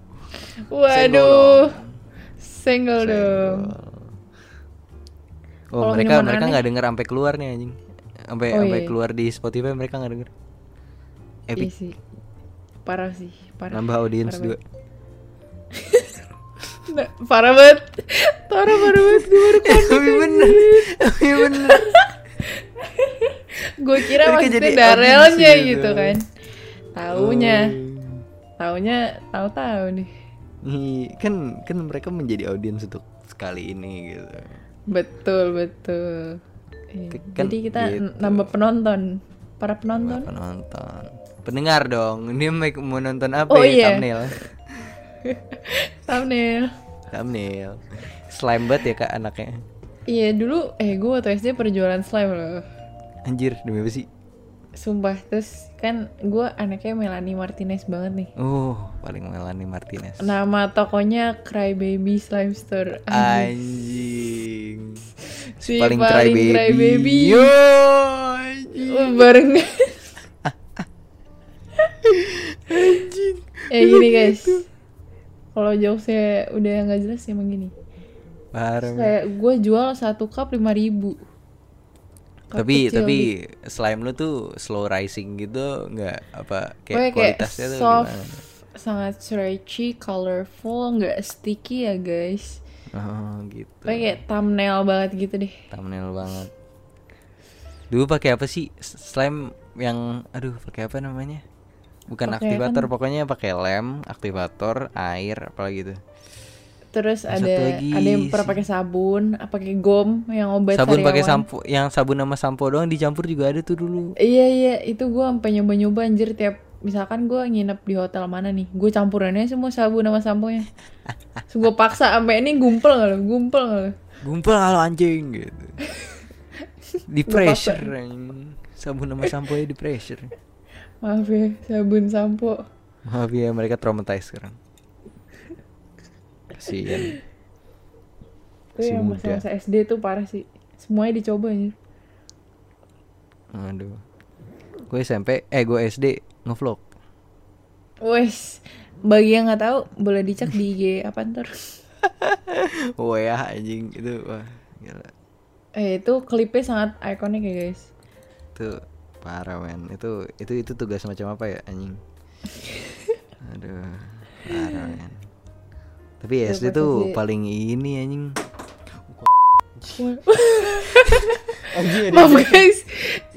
Speaker 2: Waduh Single dong
Speaker 1: oh
Speaker 2: Kalau
Speaker 1: mereka
Speaker 2: minuman
Speaker 1: mereka
Speaker 2: aneh-
Speaker 1: nggak denger sampai keluar nih anjing sampai
Speaker 2: Oh,
Speaker 1: sampai
Speaker 2: iya.
Speaker 1: keluar di Spotify mereka nggak denger
Speaker 2: Iya
Speaker 1: epic
Speaker 2: sih Parah sih Parah
Speaker 1: nambah audiens
Speaker 2: Parah
Speaker 1: dua
Speaker 2: banget. Nah, Parah banget Parah parah banget Gue baru
Speaker 1: tapi bener tapi bener
Speaker 2: Gue kira
Speaker 1: Mereka
Speaker 2: maksudnya
Speaker 1: jadi
Speaker 2: Darelnya
Speaker 1: abis gitu. Oh.
Speaker 2: gitu kan Taunya Taunya Tahu-tahu nih
Speaker 1: Ih, kan kan mereka menjadi audiens untuk sekali ini gitu
Speaker 2: Betul betul Iya.
Speaker 1: Ke- kan
Speaker 2: Jadi kita
Speaker 1: gitu.
Speaker 2: n- nambah penonton Para penonton
Speaker 1: penonton pendengar dong ini make- mau nonton apa
Speaker 2: Oh,
Speaker 1: ya?
Speaker 2: iya.
Speaker 1: thumbnail
Speaker 2: Thumbnail
Speaker 1: thumbnail slime banget ya kak anaknya
Speaker 2: Iya dulu Eh gue waktu SD perjualan slime loh
Speaker 1: anjir demi apa sih
Speaker 2: Sumpah, terus kan gue anaknya Melanie Martinez banget nih.
Speaker 1: oh paling Melanie Martinez
Speaker 2: Nama tokonya Crybaby Slime Store.
Speaker 1: anjing
Speaker 2: Si
Speaker 1: paling,
Speaker 2: paling
Speaker 1: crybaby
Speaker 2: crybaby.
Speaker 1: yo anjing
Speaker 2: Wah, Bareng. eh gini guys. Kalau jokesnya udah nggak jelas ya emang gini.
Speaker 1: Parah, men.
Speaker 2: Kayak gue jual satu cup lima ribu.
Speaker 1: tapi tapi
Speaker 2: gitu?
Speaker 1: slime lu tuh slow rising gitu nggak apa kayak kualitasnya tuh
Speaker 2: soft,
Speaker 1: gimana?
Speaker 2: sangat stretchy, colorful, nggak sticky ya guys.
Speaker 1: Oh, gitu
Speaker 2: Pokoknya kayak thumbnail banget gitu deh.
Speaker 1: thumbnail banget dulu pakai apa sih S- slime yang aduh pakai apa namanya bukan
Speaker 2: Pakai
Speaker 1: aktivator pokoknya pakai lem aktivator air apalagi gitu. itu
Speaker 2: Terus
Speaker 1: Yang
Speaker 2: ada
Speaker 1: satu lagi
Speaker 2: ada yang pernah
Speaker 1: si-
Speaker 2: pakai sabun, apa pakai gom yang obat
Speaker 1: sabun pakai
Speaker 2: sariawan.
Speaker 1: sampo yang sabun sama sampo doang dicampur juga ada tuh dulu
Speaker 2: Iya iya, itu gua sampai nyoba-nyoba anjir tiap misalkan gua nginep di hotel mana nih, gue campurannya semua sabun sama sampo-nya. Terus gue paksa sampai ini gumpel nggak lo? Gumpel nggak lo?
Speaker 1: gumpal kalau anjing gitu di
Speaker 2: Gua paksa.
Speaker 1: pressure anjing. sabun sama sampo ya di pressure
Speaker 2: Maaf ya, sabun sampo.
Speaker 1: maaf ya mereka traumatized sekarang kasian
Speaker 2: Itu
Speaker 1: Si
Speaker 2: yang
Speaker 1: muda.
Speaker 2: masa-masa SD tuh parah sih. Semuanya dicoba anjir.
Speaker 1: aduh gue SMP eh gue SD ngevlog
Speaker 2: Wes, bagi yang nggak tahu boleh dicek di IG apa ntar.
Speaker 1: wah ya anjing itu wah gila
Speaker 2: Eh itu klipnya sangat ikonik ya guys.
Speaker 1: itu parah men itu itu itu tugas macam apa ya anjing aduh parah men tapi
Speaker 2: Ya,
Speaker 1: SD
Speaker 2: pas
Speaker 1: tuh
Speaker 2: SD.
Speaker 1: paling ini anjing Eh, anjing
Speaker 2: Maaf guys,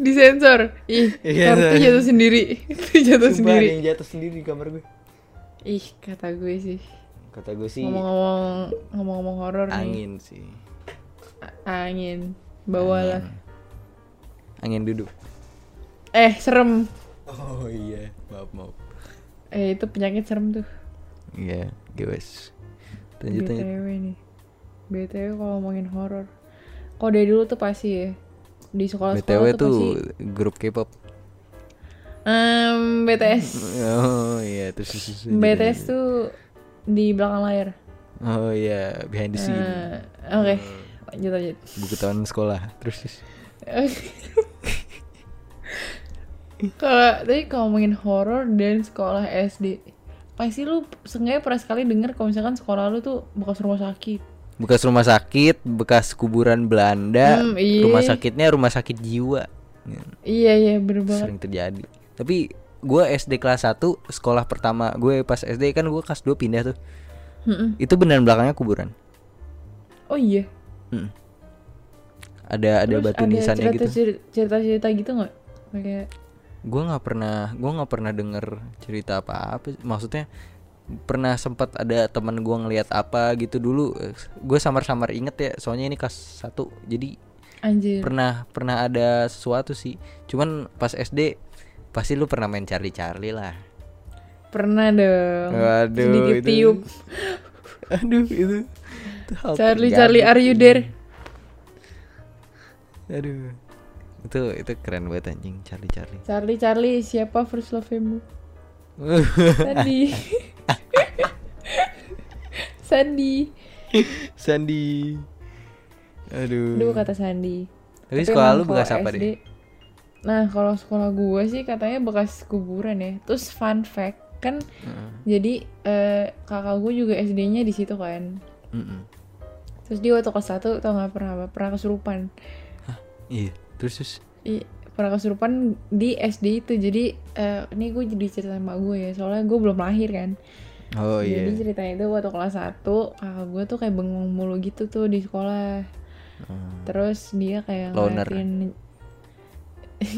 Speaker 2: disensor. Ih,
Speaker 1: Iya,
Speaker 2: kartu
Speaker 1: sorry.
Speaker 2: jatuh sendiri. Itu jatuh sendiri.
Speaker 1: jatuh sendiri di kamar gue
Speaker 2: Ih, kata gue sih.
Speaker 1: kata gue sih
Speaker 2: Ngomong-ngomong ngomong-ngomong horor nih.
Speaker 1: angin sih
Speaker 2: A- Angin. Bawalah.
Speaker 1: angin duduk
Speaker 2: Eh, serem.
Speaker 1: oh iya maaf maaf
Speaker 2: Eh, itu penyakit serem tuh.
Speaker 1: iya guys lanjut lanjut
Speaker 2: BTW nih. BTW kalau ngomongin horor. Kok dari dulu tuh pasti ya. Di
Speaker 1: btw
Speaker 2: sekolah-sekolah tuh
Speaker 1: tuh
Speaker 2: pasti
Speaker 1: grup K-pop
Speaker 2: Em,
Speaker 1: Hmm,
Speaker 2: BTS.
Speaker 1: oh iya terus terus- terus-
Speaker 2: BTS tuh di belakang layar.
Speaker 1: Oh iya, behind the scene.
Speaker 2: Eh, Oke, lanjut lanjut.
Speaker 1: Buku tahunan sekolah. Terus
Speaker 2: Kalau tadi kalau ngomongin horor dan sekolah SD, pasti lu sengaja pernah sekali denger kalau misalkan sekolah lu tuh bekas rumah sakit.
Speaker 1: bekas rumah sakit, bekas kuburan Belanda,
Speaker 2: Hmm, iya.
Speaker 1: Ya, rumah sakitnya rumah sakit jiwa. Ya,
Speaker 2: Iya iya bener banget.
Speaker 1: Sering terjadi. Tapi gue SD kelas 1 sekolah pertama gue pas SD kan gue kelas 2 pindah tuh
Speaker 2: Mm-mm.
Speaker 1: itu beneran belakangnya kuburan
Speaker 2: Oh iya.
Speaker 1: Mm. ada ada
Speaker 2: Terus
Speaker 1: batu nisannya
Speaker 2: cerita,
Speaker 1: gitu
Speaker 2: Cerita cerita gitu nggak? Kayak
Speaker 1: gue nggak pernah gue nggak pernah denger cerita apa apa maksudnya pernah sempat ada teman gue ngelihat apa gitu dulu gue samar-samar inget ya soalnya ini kelas satu jadi
Speaker 2: anjir.
Speaker 1: pernah pernah ada sesuatu sih cuman pas SD pasti lu pernah main Charlie Charlie lah
Speaker 2: Pernah dong.
Speaker 1: Waduh,
Speaker 2: Sedikit
Speaker 1: itu-
Speaker 2: tiup.
Speaker 1: aduh itu, itu hal
Speaker 2: Charlie
Speaker 1: terjadi.
Speaker 2: Charlie are you there?
Speaker 1: aduh itu itu keren banget anjing Charlie Charlie
Speaker 2: Charlie Charlie siapa first love-mu?
Speaker 1: Uh,
Speaker 2: Sandi. Sandi.
Speaker 1: Sandi aduh
Speaker 2: Aduh kata Sandi.
Speaker 1: tapi
Speaker 2: Tapi
Speaker 1: Hmm. sekolah
Speaker 2: emang
Speaker 1: lu bekas
Speaker 2: kalau
Speaker 1: apa
Speaker 2: SD
Speaker 1: deh
Speaker 2: Nah, kalau sekolah gua sih katanya bekas kuburan ya. Terus fun fact kan jadi eh, kakak gua juga SD-nya di situ kan.
Speaker 1: Mm-mm.
Speaker 2: Terus dia waktu kelas 1 tau gak pernah apa? Pernah kesurupan.
Speaker 1: iya terus terus
Speaker 2: I, pernah kesurupan di SD itu. Jadi eh, ini gue jadi cerita sama gue ya. Soalnya gue belum lahir kan.
Speaker 1: oh
Speaker 2: jadi
Speaker 1: iya
Speaker 2: ceritanya itu waktu kelas 1 kakak gue tuh kayak bengong mulu gitu tuh di sekolah.
Speaker 1: Mm.
Speaker 2: Terus dia kayak
Speaker 1: Loner.
Speaker 2: ngeliatin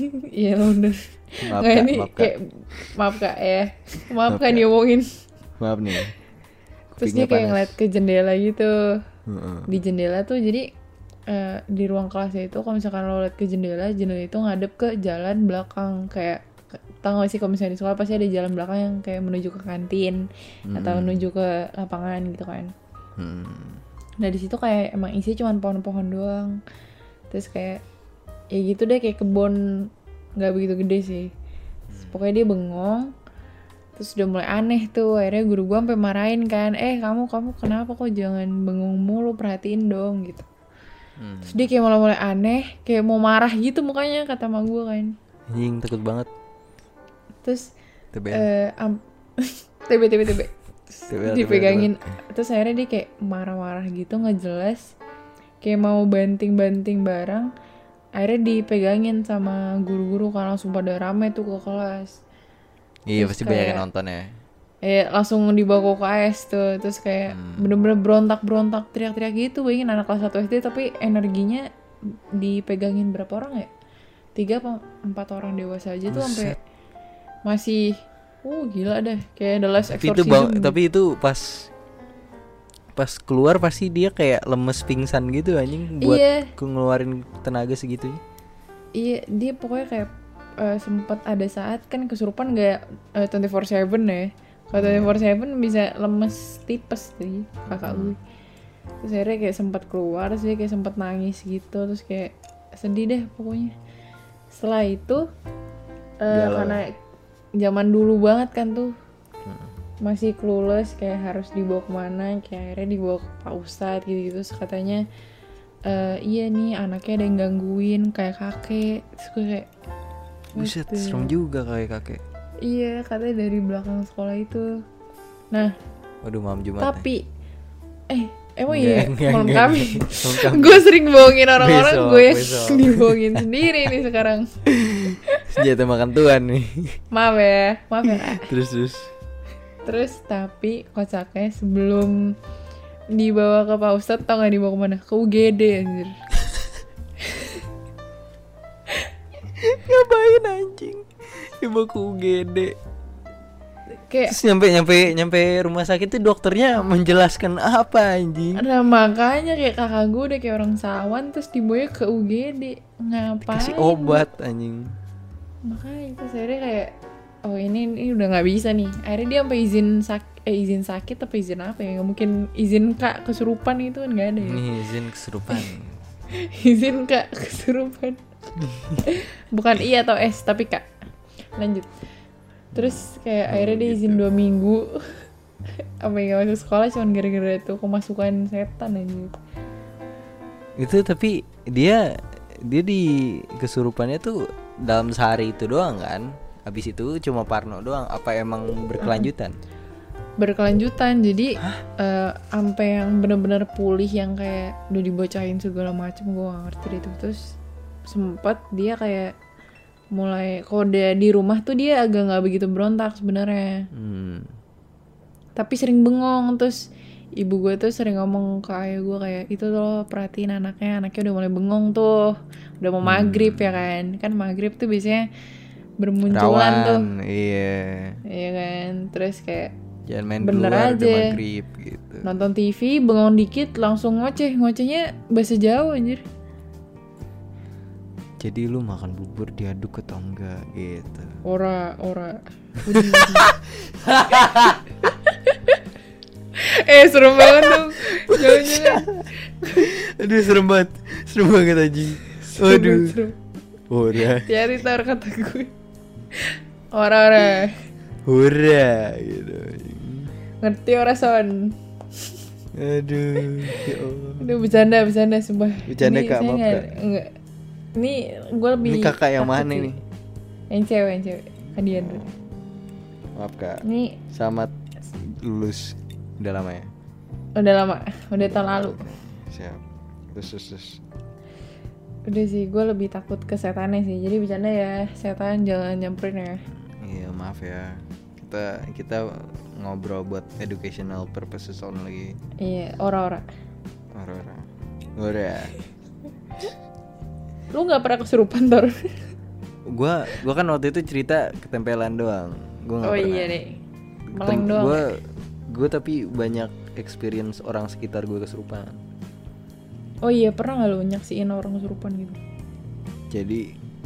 Speaker 2: Iya loner
Speaker 1: maaf
Speaker 2: Nggak,
Speaker 1: kak,
Speaker 2: ini
Speaker 1: maaf, Kak.
Speaker 2: kayak maaf kak ya maaf
Speaker 1: Maaf,
Speaker 2: kak
Speaker 1: Kak.
Speaker 2: diomongin
Speaker 1: Maaf nih
Speaker 2: terus
Speaker 1: kupingnya
Speaker 2: dia kayak
Speaker 1: panas.
Speaker 2: ngeliat ke jendela gitu
Speaker 1: Heeh.
Speaker 2: di jendela tuh jadi eh, di ruang kelasnya itu kalau misalkan lo liat ke jendela jendela itu ngadep ke jalan belakang kayak ke- tau gak sih kalau misalnya di sekolah pasti ada jalan belakang yang kayak menuju ke kantin atau
Speaker 1: Mm-mm.
Speaker 2: menuju ke lapangan gitu kan
Speaker 1: Mm-mm.
Speaker 2: nah di situ kayak emang isi cuman pohon-pohon doang terus kayak ya gitu deh kayak kebun nggak begitu gede sih Terus pokoknya dia bengong terus udah mulai aneh tuh akhirnya guru gua sampai marahin kan eh kamu kamu kenapa kok jangan bengong mulu perhatiin dong gitu
Speaker 1: Hmm.
Speaker 2: terus dia kayak mulai mulai aneh kayak mau marah gitu mukanya kata sama gue kan
Speaker 1: anjing takut banget
Speaker 2: terus
Speaker 1: TBL
Speaker 2: eh am- tb tb tb
Speaker 1: TBL.
Speaker 2: Terus dipegangin terus akhirnya dia kayak marah-marah gitu nggak jelas kayak mau banting-banting barang akhirnya dipegangin sama guru-guru kan langsung pada rame tuh ke kelas
Speaker 1: iya
Speaker 2: terus
Speaker 1: pasti banyak yang
Speaker 2: kayak-
Speaker 1: nonton ya
Speaker 2: eh langsung dibawa ke KS tuh terus kayak
Speaker 1: Hmm.
Speaker 2: bener-bener berontak-berontak teriak-teriak gitu bayangin anak kelas 1 SD tapi energinya dipegangin berapa orang ya tiga apa empat orang dewasa aja tuh sampai masih Oh gila deh, kayak The Last
Speaker 1: tapi itu
Speaker 2: Exorcism.
Speaker 1: bang tapi itu pas pas keluar pasti dia kayak lemes pingsan gitu anjing buat
Speaker 2: Iya.
Speaker 1: ku ngeluarin tenaga segitunya
Speaker 2: Iya, dia pokoknya kayak eh, sempat ada saat kan kesurupan gak 24/7 ya. Kalau 24/7 bisa lemes tipes sih kakak gue. Terus akhirnya kayak sempat keluar, terus dia kayak sempat nangis gitu, terus kayak sedih deh pokoknya. Setelah itu eh,
Speaker 1: Galau.
Speaker 2: karena zaman dulu banget kan tuh masih clueless kayak harus dibawa kemana kayak akhirnya dibawa ke pak ustadz gitu gitu katanya "Eh, iya nih anaknya ada yang gangguin kayak kakek terus gue kayak
Speaker 1: buset
Speaker 2: "What the-"
Speaker 1: serem juga kayak kakek
Speaker 2: iya katanya dari belakang sekolah itu nah
Speaker 1: waduh malam jumat ya. nih.
Speaker 2: tapi eh emang
Speaker 1: Enggak,
Speaker 2: iya
Speaker 1: enggak,
Speaker 2: malam
Speaker 1: enggak,
Speaker 2: kami
Speaker 1: enggak. Malam kami.
Speaker 2: gue sering bohongin orang-orang
Speaker 1: Besok,
Speaker 2: gue
Speaker 1: besok.
Speaker 2: dibohongin sendiri nih sekarang
Speaker 1: senjata makan tuan nih
Speaker 2: maaf ya maaf ya Kak.
Speaker 1: terus terus
Speaker 2: Terus tapi kocaknya sebelum dibawa ke Pak Ustadz tau gak dibawa kemana? Ke UGD anjir
Speaker 1: ngapain anjing ibu ke UGD
Speaker 2: Kayak
Speaker 1: terus nyampe nyampe nyampe rumah sakit tuh dokternya menjelaskan apa anjing
Speaker 2: ada makanya kayak kakak gue udah kayak orang sawan terus dibawa ke UGD ngapain?
Speaker 1: kasih obat anjing
Speaker 2: Makanya terus akhirnya kayak oh ini ini udah nggak bisa nih. Akhirnya dia sampai izin sakit eh izin sakit apa izin apa ya? Nggak mungkin izin kak kesurupan itu kan nggak ada ya.
Speaker 1: ini izin kesurupan
Speaker 2: izin kak kesurupan bukan iya atau S tapi kak lanjut terus kayak akhirnya dia izin dua minggu apa yang masuk sekolah cuman gara-gara itu kemasukan setan aja
Speaker 1: itu tapi dia dia di kesurupannya tuh dalam sehari itu doang kan habis itu cuma Parno doang apa emang berkelanjutan
Speaker 2: berkelanjutan jadi eh, sampai yang bener-bener pulih yang kayak udah dibocahin segala macem gue gak ngerti deh itu terus sempet dia kayak mulai kode di rumah tuh dia agak nggak begitu berontak sebenarnya
Speaker 1: hmm.
Speaker 2: tapi sering bengong terus ibu gue tuh sering ngomong ke ayah gue kayak itu loh perhatiin anaknya anaknya udah mulai bengong tuh udah mau maghrib ya kan kan maghrib tuh biasanya bermunculan tuh
Speaker 1: rawan iya
Speaker 2: Iya kan terus kayak
Speaker 1: jangan main di
Speaker 2: Bener
Speaker 1: luar udah
Speaker 2: aja.
Speaker 1: maghrib gitu
Speaker 2: nonton TV bengong dikit langsung ngoceh ngocehnya bahasa Jawa anjir
Speaker 1: jadi lu makan bubur diaduk atau enggak gitu
Speaker 2: ora ora Udah, udah. eh serem banget dong jangan jangan
Speaker 1: aduh serem banget serem banget anjing aduh
Speaker 2: Serem.
Speaker 1: hura
Speaker 2: Tiari tar kata gue Ora-ora
Speaker 1: hura gitu anjing.
Speaker 2: Ngerti ora son
Speaker 1: aduh ya Allah.
Speaker 2: Aduh bercanda bercanda sumpah
Speaker 1: Bercanda,
Speaker 2: Ini
Speaker 1: Kak,
Speaker 2: saya
Speaker 1: maaf,
Speaker 2: nggak-
Speaker 1: Kak.
Speaker 2: nggak- Ini gue lebih
Speaker 1: ini kakak yang
Speaker 2: takut
Speaker 1: mana
Speaker 2: sih. Iya,
Speaker 1: nih
Speaker 2: Yang cewek yang cewek Kadian dulu
Speaker 1: maaf kak
Speaker 2: Ini
Speaker 1: selamat lulus udah lama ya
Speaker 2: udah lama Udah tahun lalu
Speaker 1: siap terus terus, terus.
Speaker 2: Udah sih gue lebih takut ke setannya sih Jadi bercanda ya Setan jangan nyamperin ya
Speaker 1: iya maaf ya kita kita ngobrol buat educational purposes only
Speaker 2: Iya ora-ora
Speaker 1: Aurora Aurora
Speaker 2: Lu gak pernah kesurupan Tor
Speaker 1: gua gua kan waktu itu cerita ketempelan doang gua nggak
Speaker 2: Oh
Speaker 1: pernah
Speaker 2: iya deh Meleng doang
Speaker 1: gue tapi banyak experience orang sekitar gue kesurupan
Speaker 2: Oh iya pernah gak lu nyaksiin orang kesurupan gitu
Speaker 1: jadi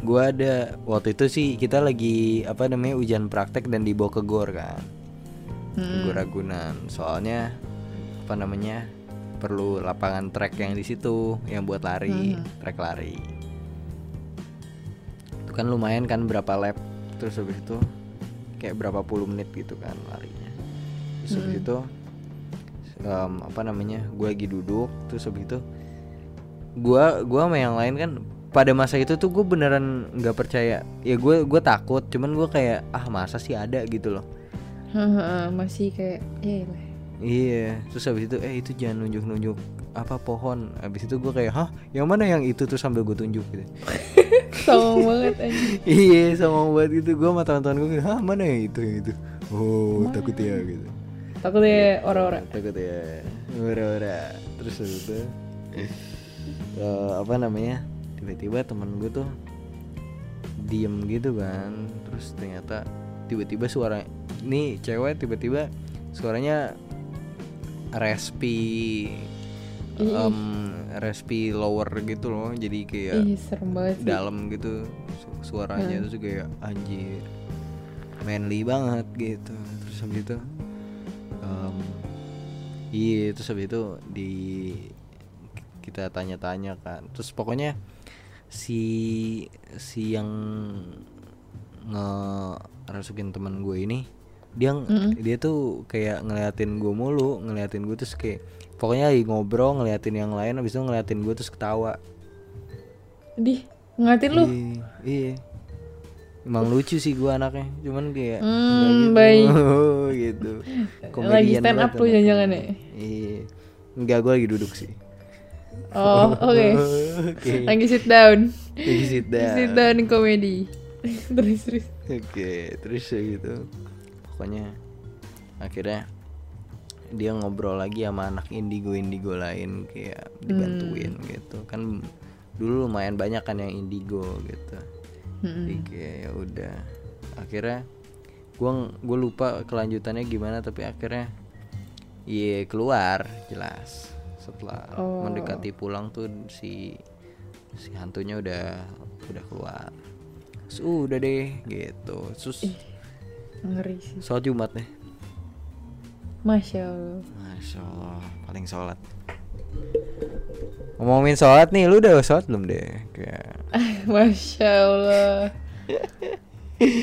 Speaker 1: gue ada waktu itu sih kita lagi apa namanya ujian praktek dan dibawa ke gor kan ke gor ragunan soalnya apa namanya perlu lapangan track yang di situ yang buat lari track lari itu kan lumayan kan berapa lap terus habis itu kayak berapa puluh menit gitu kan larinya terus habis itu em, apa namanya gue lagi duduk terus habis itu gue gua sama yang lain kan pada masa itu tuh gue beneran nggak percaya ya gue gue takut cuman gue kayak ah masa sih ada gitu loh
Speaker 2: Hahaha, Masih kayak Ya lah
Speaker 1: Iya, terus habis itu eh itu jangan nunjuk-nunjuk apa pohon. Habis itu gue kayak, "Hah, yang mana yang itu tuh sambil gue tunjuk gitu."
Speaker 2: Sama banget anjing
Speaker 1: iya, sama buat gitu. Gue sama teman-teman gue, "Hah, mana yang itu yang itu?" Oh, takut ya gitu.
Speaker 2: Takut ya ora-ora
Speaker 1: Takut ya. Ora-ora. Terus habis itu eh, apa namanya? Tiba-tiba temen gue tuh diem gitu kan. Terus ternyata tiba-tiba suara nih cewek tiba-tiba suaranya respi
Speaker 2: Ih.
Speaker 1: em, respi lower gitu loh jadi kayak
Speaker 2: Ih, serem banget sih.
Speaker 1: dalam gitu su- suaranya terus kayak anjir manly banget gitu terus habis itu em, iya terus habis itu di kita tanya-tanya kan terus pokoknya si si yang nge rasukin teman gue ini dia ng-
Speaker 2: Hmm.
Speaker 1: dia tuh kayak ngeliatin gue mulu ngeliatin gue terus kayak pokoknya lagi ngobrol ngeliatin yang lain habis itu ngeliatin gue terus ketawa
Speaker 2: Dih, ngatin lu.
Speaker 1: Iya, iya. Emang lucu sih gua anaknya, cuman kayak nggak
Speaker 2: Hmm, baik.
Speaker 1: gitu.
Speaker 2: Lagi stand up
Speaker 1: banget
Speaker 2: lu
Speaker 1: anaknya.
Speaker 2: jangan-jangan ya?
Speaker 1: Iya. Enggak, gua lagi duduk sih.
Speaker 2: Oh, oke.
Speaker 1: Oke. Ya.
Speaker 2: Lagi sit down.
Speaker 1: Lagi sit down.
Speaker 2: Sit down komedi. terus terus.
Speaker 1: Oke, terus ya gitu. Pokoknya akhirnya dia ngobrol lagi sama anak indigo-indigo lain kayak dibantuin
Speaker 2: Hmm.
Speaker 1: gitu. Kan dulu lumayan banyak kan yang indigo gitu.
Speaker 2: Hmm,
Speaker 1: Jadi kayak ya udah. Akhirnya gua gue lupa kelanjutannya gimana tapi akhirnya iya keluar jelas setelah
Speaker 2: Oh.
Speaker 1: mendekati pulang tuh si si hantunya udah udah keluar Terus, "Uh, udah deh gitu sus
Speaker 2: Ngeri sih.
Speaker 1: sholat jumat nih
Speaker 2: Masya Allah.
Speaker 1: masya allah paling sholat ngomongin sholat nih lu udah sholat belum deh kayak
Speaker 2: Masya Allah.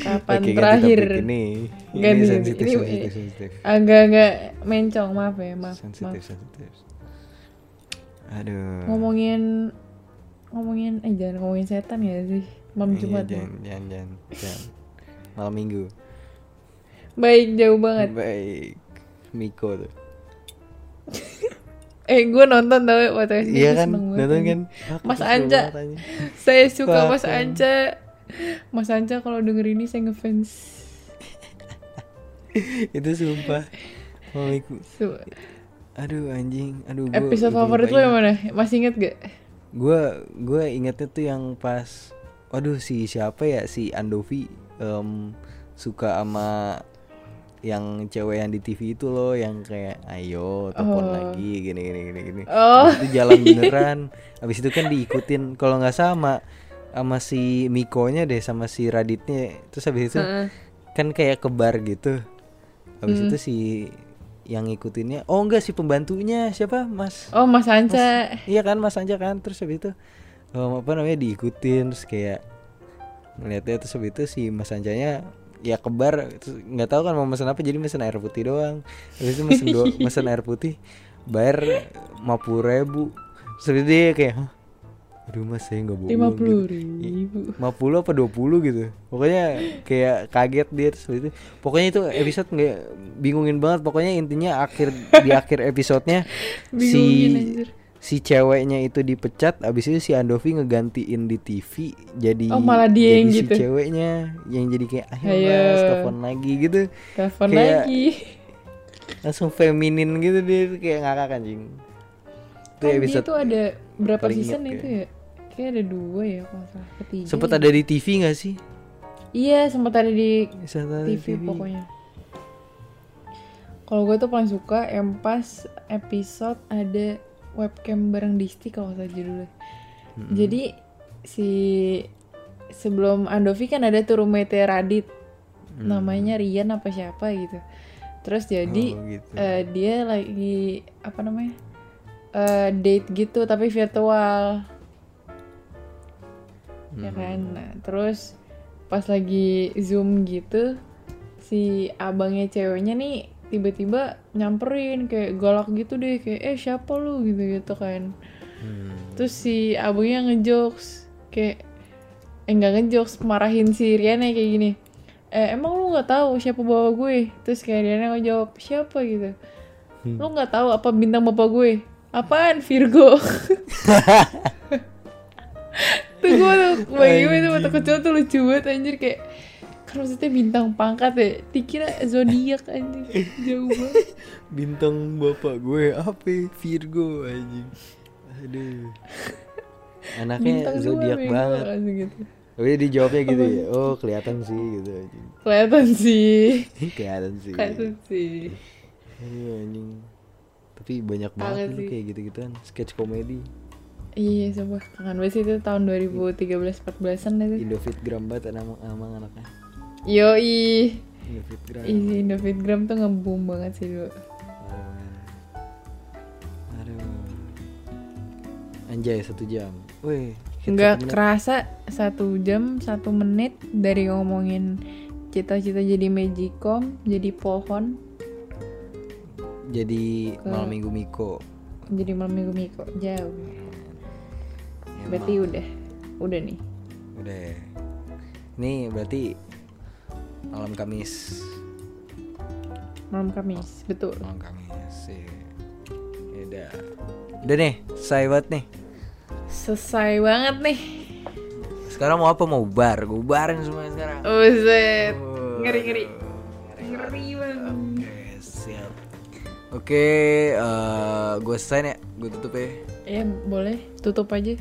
Speaker 2: Kapan
Speaker 1: Oke, ganti
Speaker 2: terakhir?
Speaker 1: topik ini ini
Speaker 2: Ganti,
Speaker 1: sensitif
Speaker 2: ini- eh,
Speaker 1: sensitif sensitif
Speaker 2: Agak-agak mencong, maaf ya, maaf.
Speaker 1: sensitif
Speaker 2: maaf.
Speaker 1: sensitif aduh
Speaker 2: Ngomongin ngomongin eh jangan ngomongin setan ya sih. Malam
Speaker 1: Iya,
Speaker 2: Jumat. ya.
Speaker 1: jangan, jangan, jangan, jangan. malam minggu
Speaker 2: Baik, jauh banget.
Speaker 1: baik Miko tuh
Speaker 2: Eh, gue nonton tau waktu SD.
Speaker 1: iya
Speaker 2: gua
Speaker 1: kan
Speaker 2: seneng banget.
Speaker 1: nonton kan
Speaker 2: Mas
Speaker 1: Aku seru
Speaker 2: Anja.
Speaker 1: banget, anjing.
Speaker 2: Saya suka Mas
Speaker 1: Fucking.
Speaker 2: Anca. Mas Anca kalau denger ini saya ngefans.
Speaker 1: itu sumpah Malam minggu
Speaker 2: Su-
Speaker 1: aduh anjing aduh gua,
Speaker 2: Episode
Speaker 1: gua
Speaker 2: favorit lo
Speaker 1: lupa ya.
Speaker 2: yang
Speaker 1: ingat.
Speaker 2: mana? Masih inget gak?
Speaker 1: gua gua ingetnya tuh yang pas aduh si siapa ya si Andovi em, suka sama yang cewek yang di TV itu loh yang kayak ayo telepon
Speaker 2: Oh.
Speaker 1: lagi gini gini gini gini
Speaker 2: Oh.
Speaker 1: Abis itu jalan beneran Abis itu kan diikutin Kalau nggak sama Sama si Mikonya deh Sama si Raditnya Terus abis itu
Speaker 2: Heeh. Hmm.
Speaker 1: Kan kayak ke bar gitu Abis itu si Yang ngikutinnya Oh enggak si pembantunya Siapa Mas
Speaker 2: Oh, Mas Anca.
Speaker 1: Iya kan Mas Anja kan Terus abis itu em, Apa namanya diikutin Terus kayak Ngeliatnya terus abis itu si Mas Anjanya ya kebar terus nggak tahu kan mau pesan apa jadi pesan air putih doang terus itu pesan do pesan air putih bayar 50.000 ribu terus abis itu dia kayak "Hah? aduh mas saya nggak bohong
Speaker 2: Lima
Speaker 1: gitu."
Speaker 2: puluh ribu.
Speaker 1: 50 apa 20 gitu Pokoknya kayak kaget dia terus habis itu Pokoknya itu episode nggak bingungin banget Pokoknya intinya akhir di akhir episodenya Si
Speaker 2: Bingungin, anjir.
Speaker 1: si ceweknya itu dipecat Abis itu si Andovi ngegantiin di TV Jadi
Speaker 2: Oh, malah
Speaker 1: jadi
Speaker 2: dia yang
Speaker 1: si
Speaker 2: gitu.
Speaker 1: ceweknya Yang jadi kayak ayo
Speaker 2: Ayo.
Speaker 1: mas telepon lagi gitu
Speaker 2: Telepon
Speaker 1: Kayak-
Speaker 2: lagi.
Speaker 1: Langsung feminin gitu dia tuh kayak ngakak anjing Itu
Speaker 2: Kan dia
Speaker 1: episode
Speaker 2: tuh ada berapa
Speaker 1: paling
Speaker 2: season
Speaker 1: inget
Speaker 2: itu ya? Kayak ada dua ya kalau nggak salah ketiga.
Speaker 1: Sempet
Speaker 2: ya.
Speaker 1: ada di TV gak sih?
Speaker 2: Iya, sempat ada di
Speaker 1: Sempet ada di
Speaker 2: TV pokoknya. Kalau gue tuh paling suka yang pas episode ada webcam bareng Disti kalau nggak salah judulnya. Jadi si sebelum Andovi kan ada tuh roommate Radit namanya Rian apa siapa gitu. Terus jadi
Speaker 1: Oh, gitu.
Speaker 2: eh, dia lagi apa namanya eh, date gitu tapi virtual ya kan. Nah, terus pas lagi zoom gitu si abangnya ceweknya nih tiba-tiba nyamperin kayak galak gitu deh kayak eh siapa lu gitu gitu kan.
Speaker 1: Hmm.
Speaker 2: Terus si abunya ngejokes kayak eh nggak ngejokes marahin si Riana kayak gini. Eh emang lu nggak tahu siapa bawa gue? Terus kayak Riana ngejawab siapa gitu.
Speaker 1: Hmm.
Speaker 2: Lu nggak tahu apa bintang bapak gue? Apaan Virgo? tuh gue tuh bagi gue tuh waktu kecil tuh lucu banget anjir kayak kan maksudnya bintang pangkat ya dikira zodiak anjir jauh banget
Speaker 1: bintang bapak gue apa Virgo anjing aduh anaknya
Speaker 2: bintang dua
Speaker 1: zodiak
Speaker 2: bego,
Speaker 1: banget
Speaker 2: langsung gitu.
Speaker 1: Tapi dijawabnya gitu ya. Oh, kelihatan sih gitu. anjing.
Speaker 2: Kelihatan sih.
Speaker 1: kelihatan sih.
Speaker 2: Kelihatan sih.
Speaker 1: Aduh, anjing. Tapi banyak
Speaker 2: Kangen
Speaker 1: banget lu
Speaker 2: sih.
Speaker 1: kayak gitu-gituan, sketch komedi.
Speaker 2: Iya, coba kangen banget sih itu tahun 2013-14an itu.
Speaker 1: Indofit gram banget emang emang anaknya.
Speaker 2: Yoi.
Speaker 1: Indofit gram.
Speaker 2: Ih, Indofitgram tuh ngeboom banget sih dulu.
Speaker 1: Ah. Aduh. Anjay satu jam. Wih. hit
Speaker 2: Nggak
Speaker 1: satu menit.
Speaker 2: kerasa satu jam satu menit dari ngomongin cita-cita jadi magicom, jadi pohon,
Speaker 1: Jadi malam minggu Miko.
Speaker 2: jadi malam minggu miko jauh.
Speaker 1: Emang.
Speaker 2: Berarti udah, udah nih.
Speaker 1: Udah. ya. Ini berarti malam Kamis.
Speaker 2: Malam Kamis, betul.
Speaker 1: Malam Kamis. Iya. Ya Udah. Udah nih, say banget nih.
Speaker 2: Selesai banget nih.
Speaker 1: Sekarang mau apa? Mau bar. Gue barin semuanya sekarang.
Speaker 2: Buset. Oh, Ngeri ngeri. Ngeri banget.
Speaker 1: Oke, siap. Oke, eh, gue sign ya. Gue tutup ya.
Speaker 2: Ya boleh tutup aja.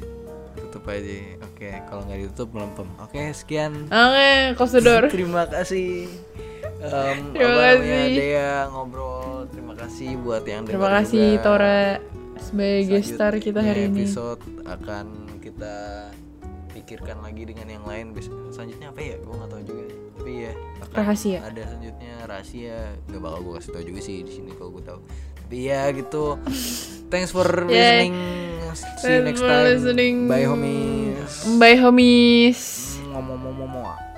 Speaker 1: Tutup aja. Oke, kalau nggak ditutup melempem. Oke, sekian.
Speaker 2: Oke, kosedor.
Speaker 1: Terima kasih. Em,
Speaker 2: Terima
Speaker 1: apa namanya,
Speaker 2: kasih.
Speaker 1: Dea ngobrol. Terima kasih buat yang
Speaker 2: Terima
Speaker 1: dengar
Speaker 2: kasih
Speaker 1: juga.
Speaker 2: Tora sebagai guest star
Speaker 1: Selanjutnya
Speaker 2: kita hari ini.
Speaker 1: Episode akan kita pikirkan lagi dengan yang lain. Bes- Selanjutnya apa ya? Gue nggak tahu juga. Tapi ya akan
Speaker 2: Rahasia.
Speaker 1: Ada selanjutnya rahasia. Gak bakal gue kasih tau juga sih di sini kalau gue tahu. Tapi ya gitu. Thanks for
Speaker 2: Yay.
Speaker 1: listening. See you
Speaker 2: Thanks
Speaker 1: next
Speaker 2: for
Speaker 1: time.
Speaker 2: listening.
Speaker 1: Bye homies.
Speaker 2: Bye homies.
Speaker 1: Ngomong-ngomong.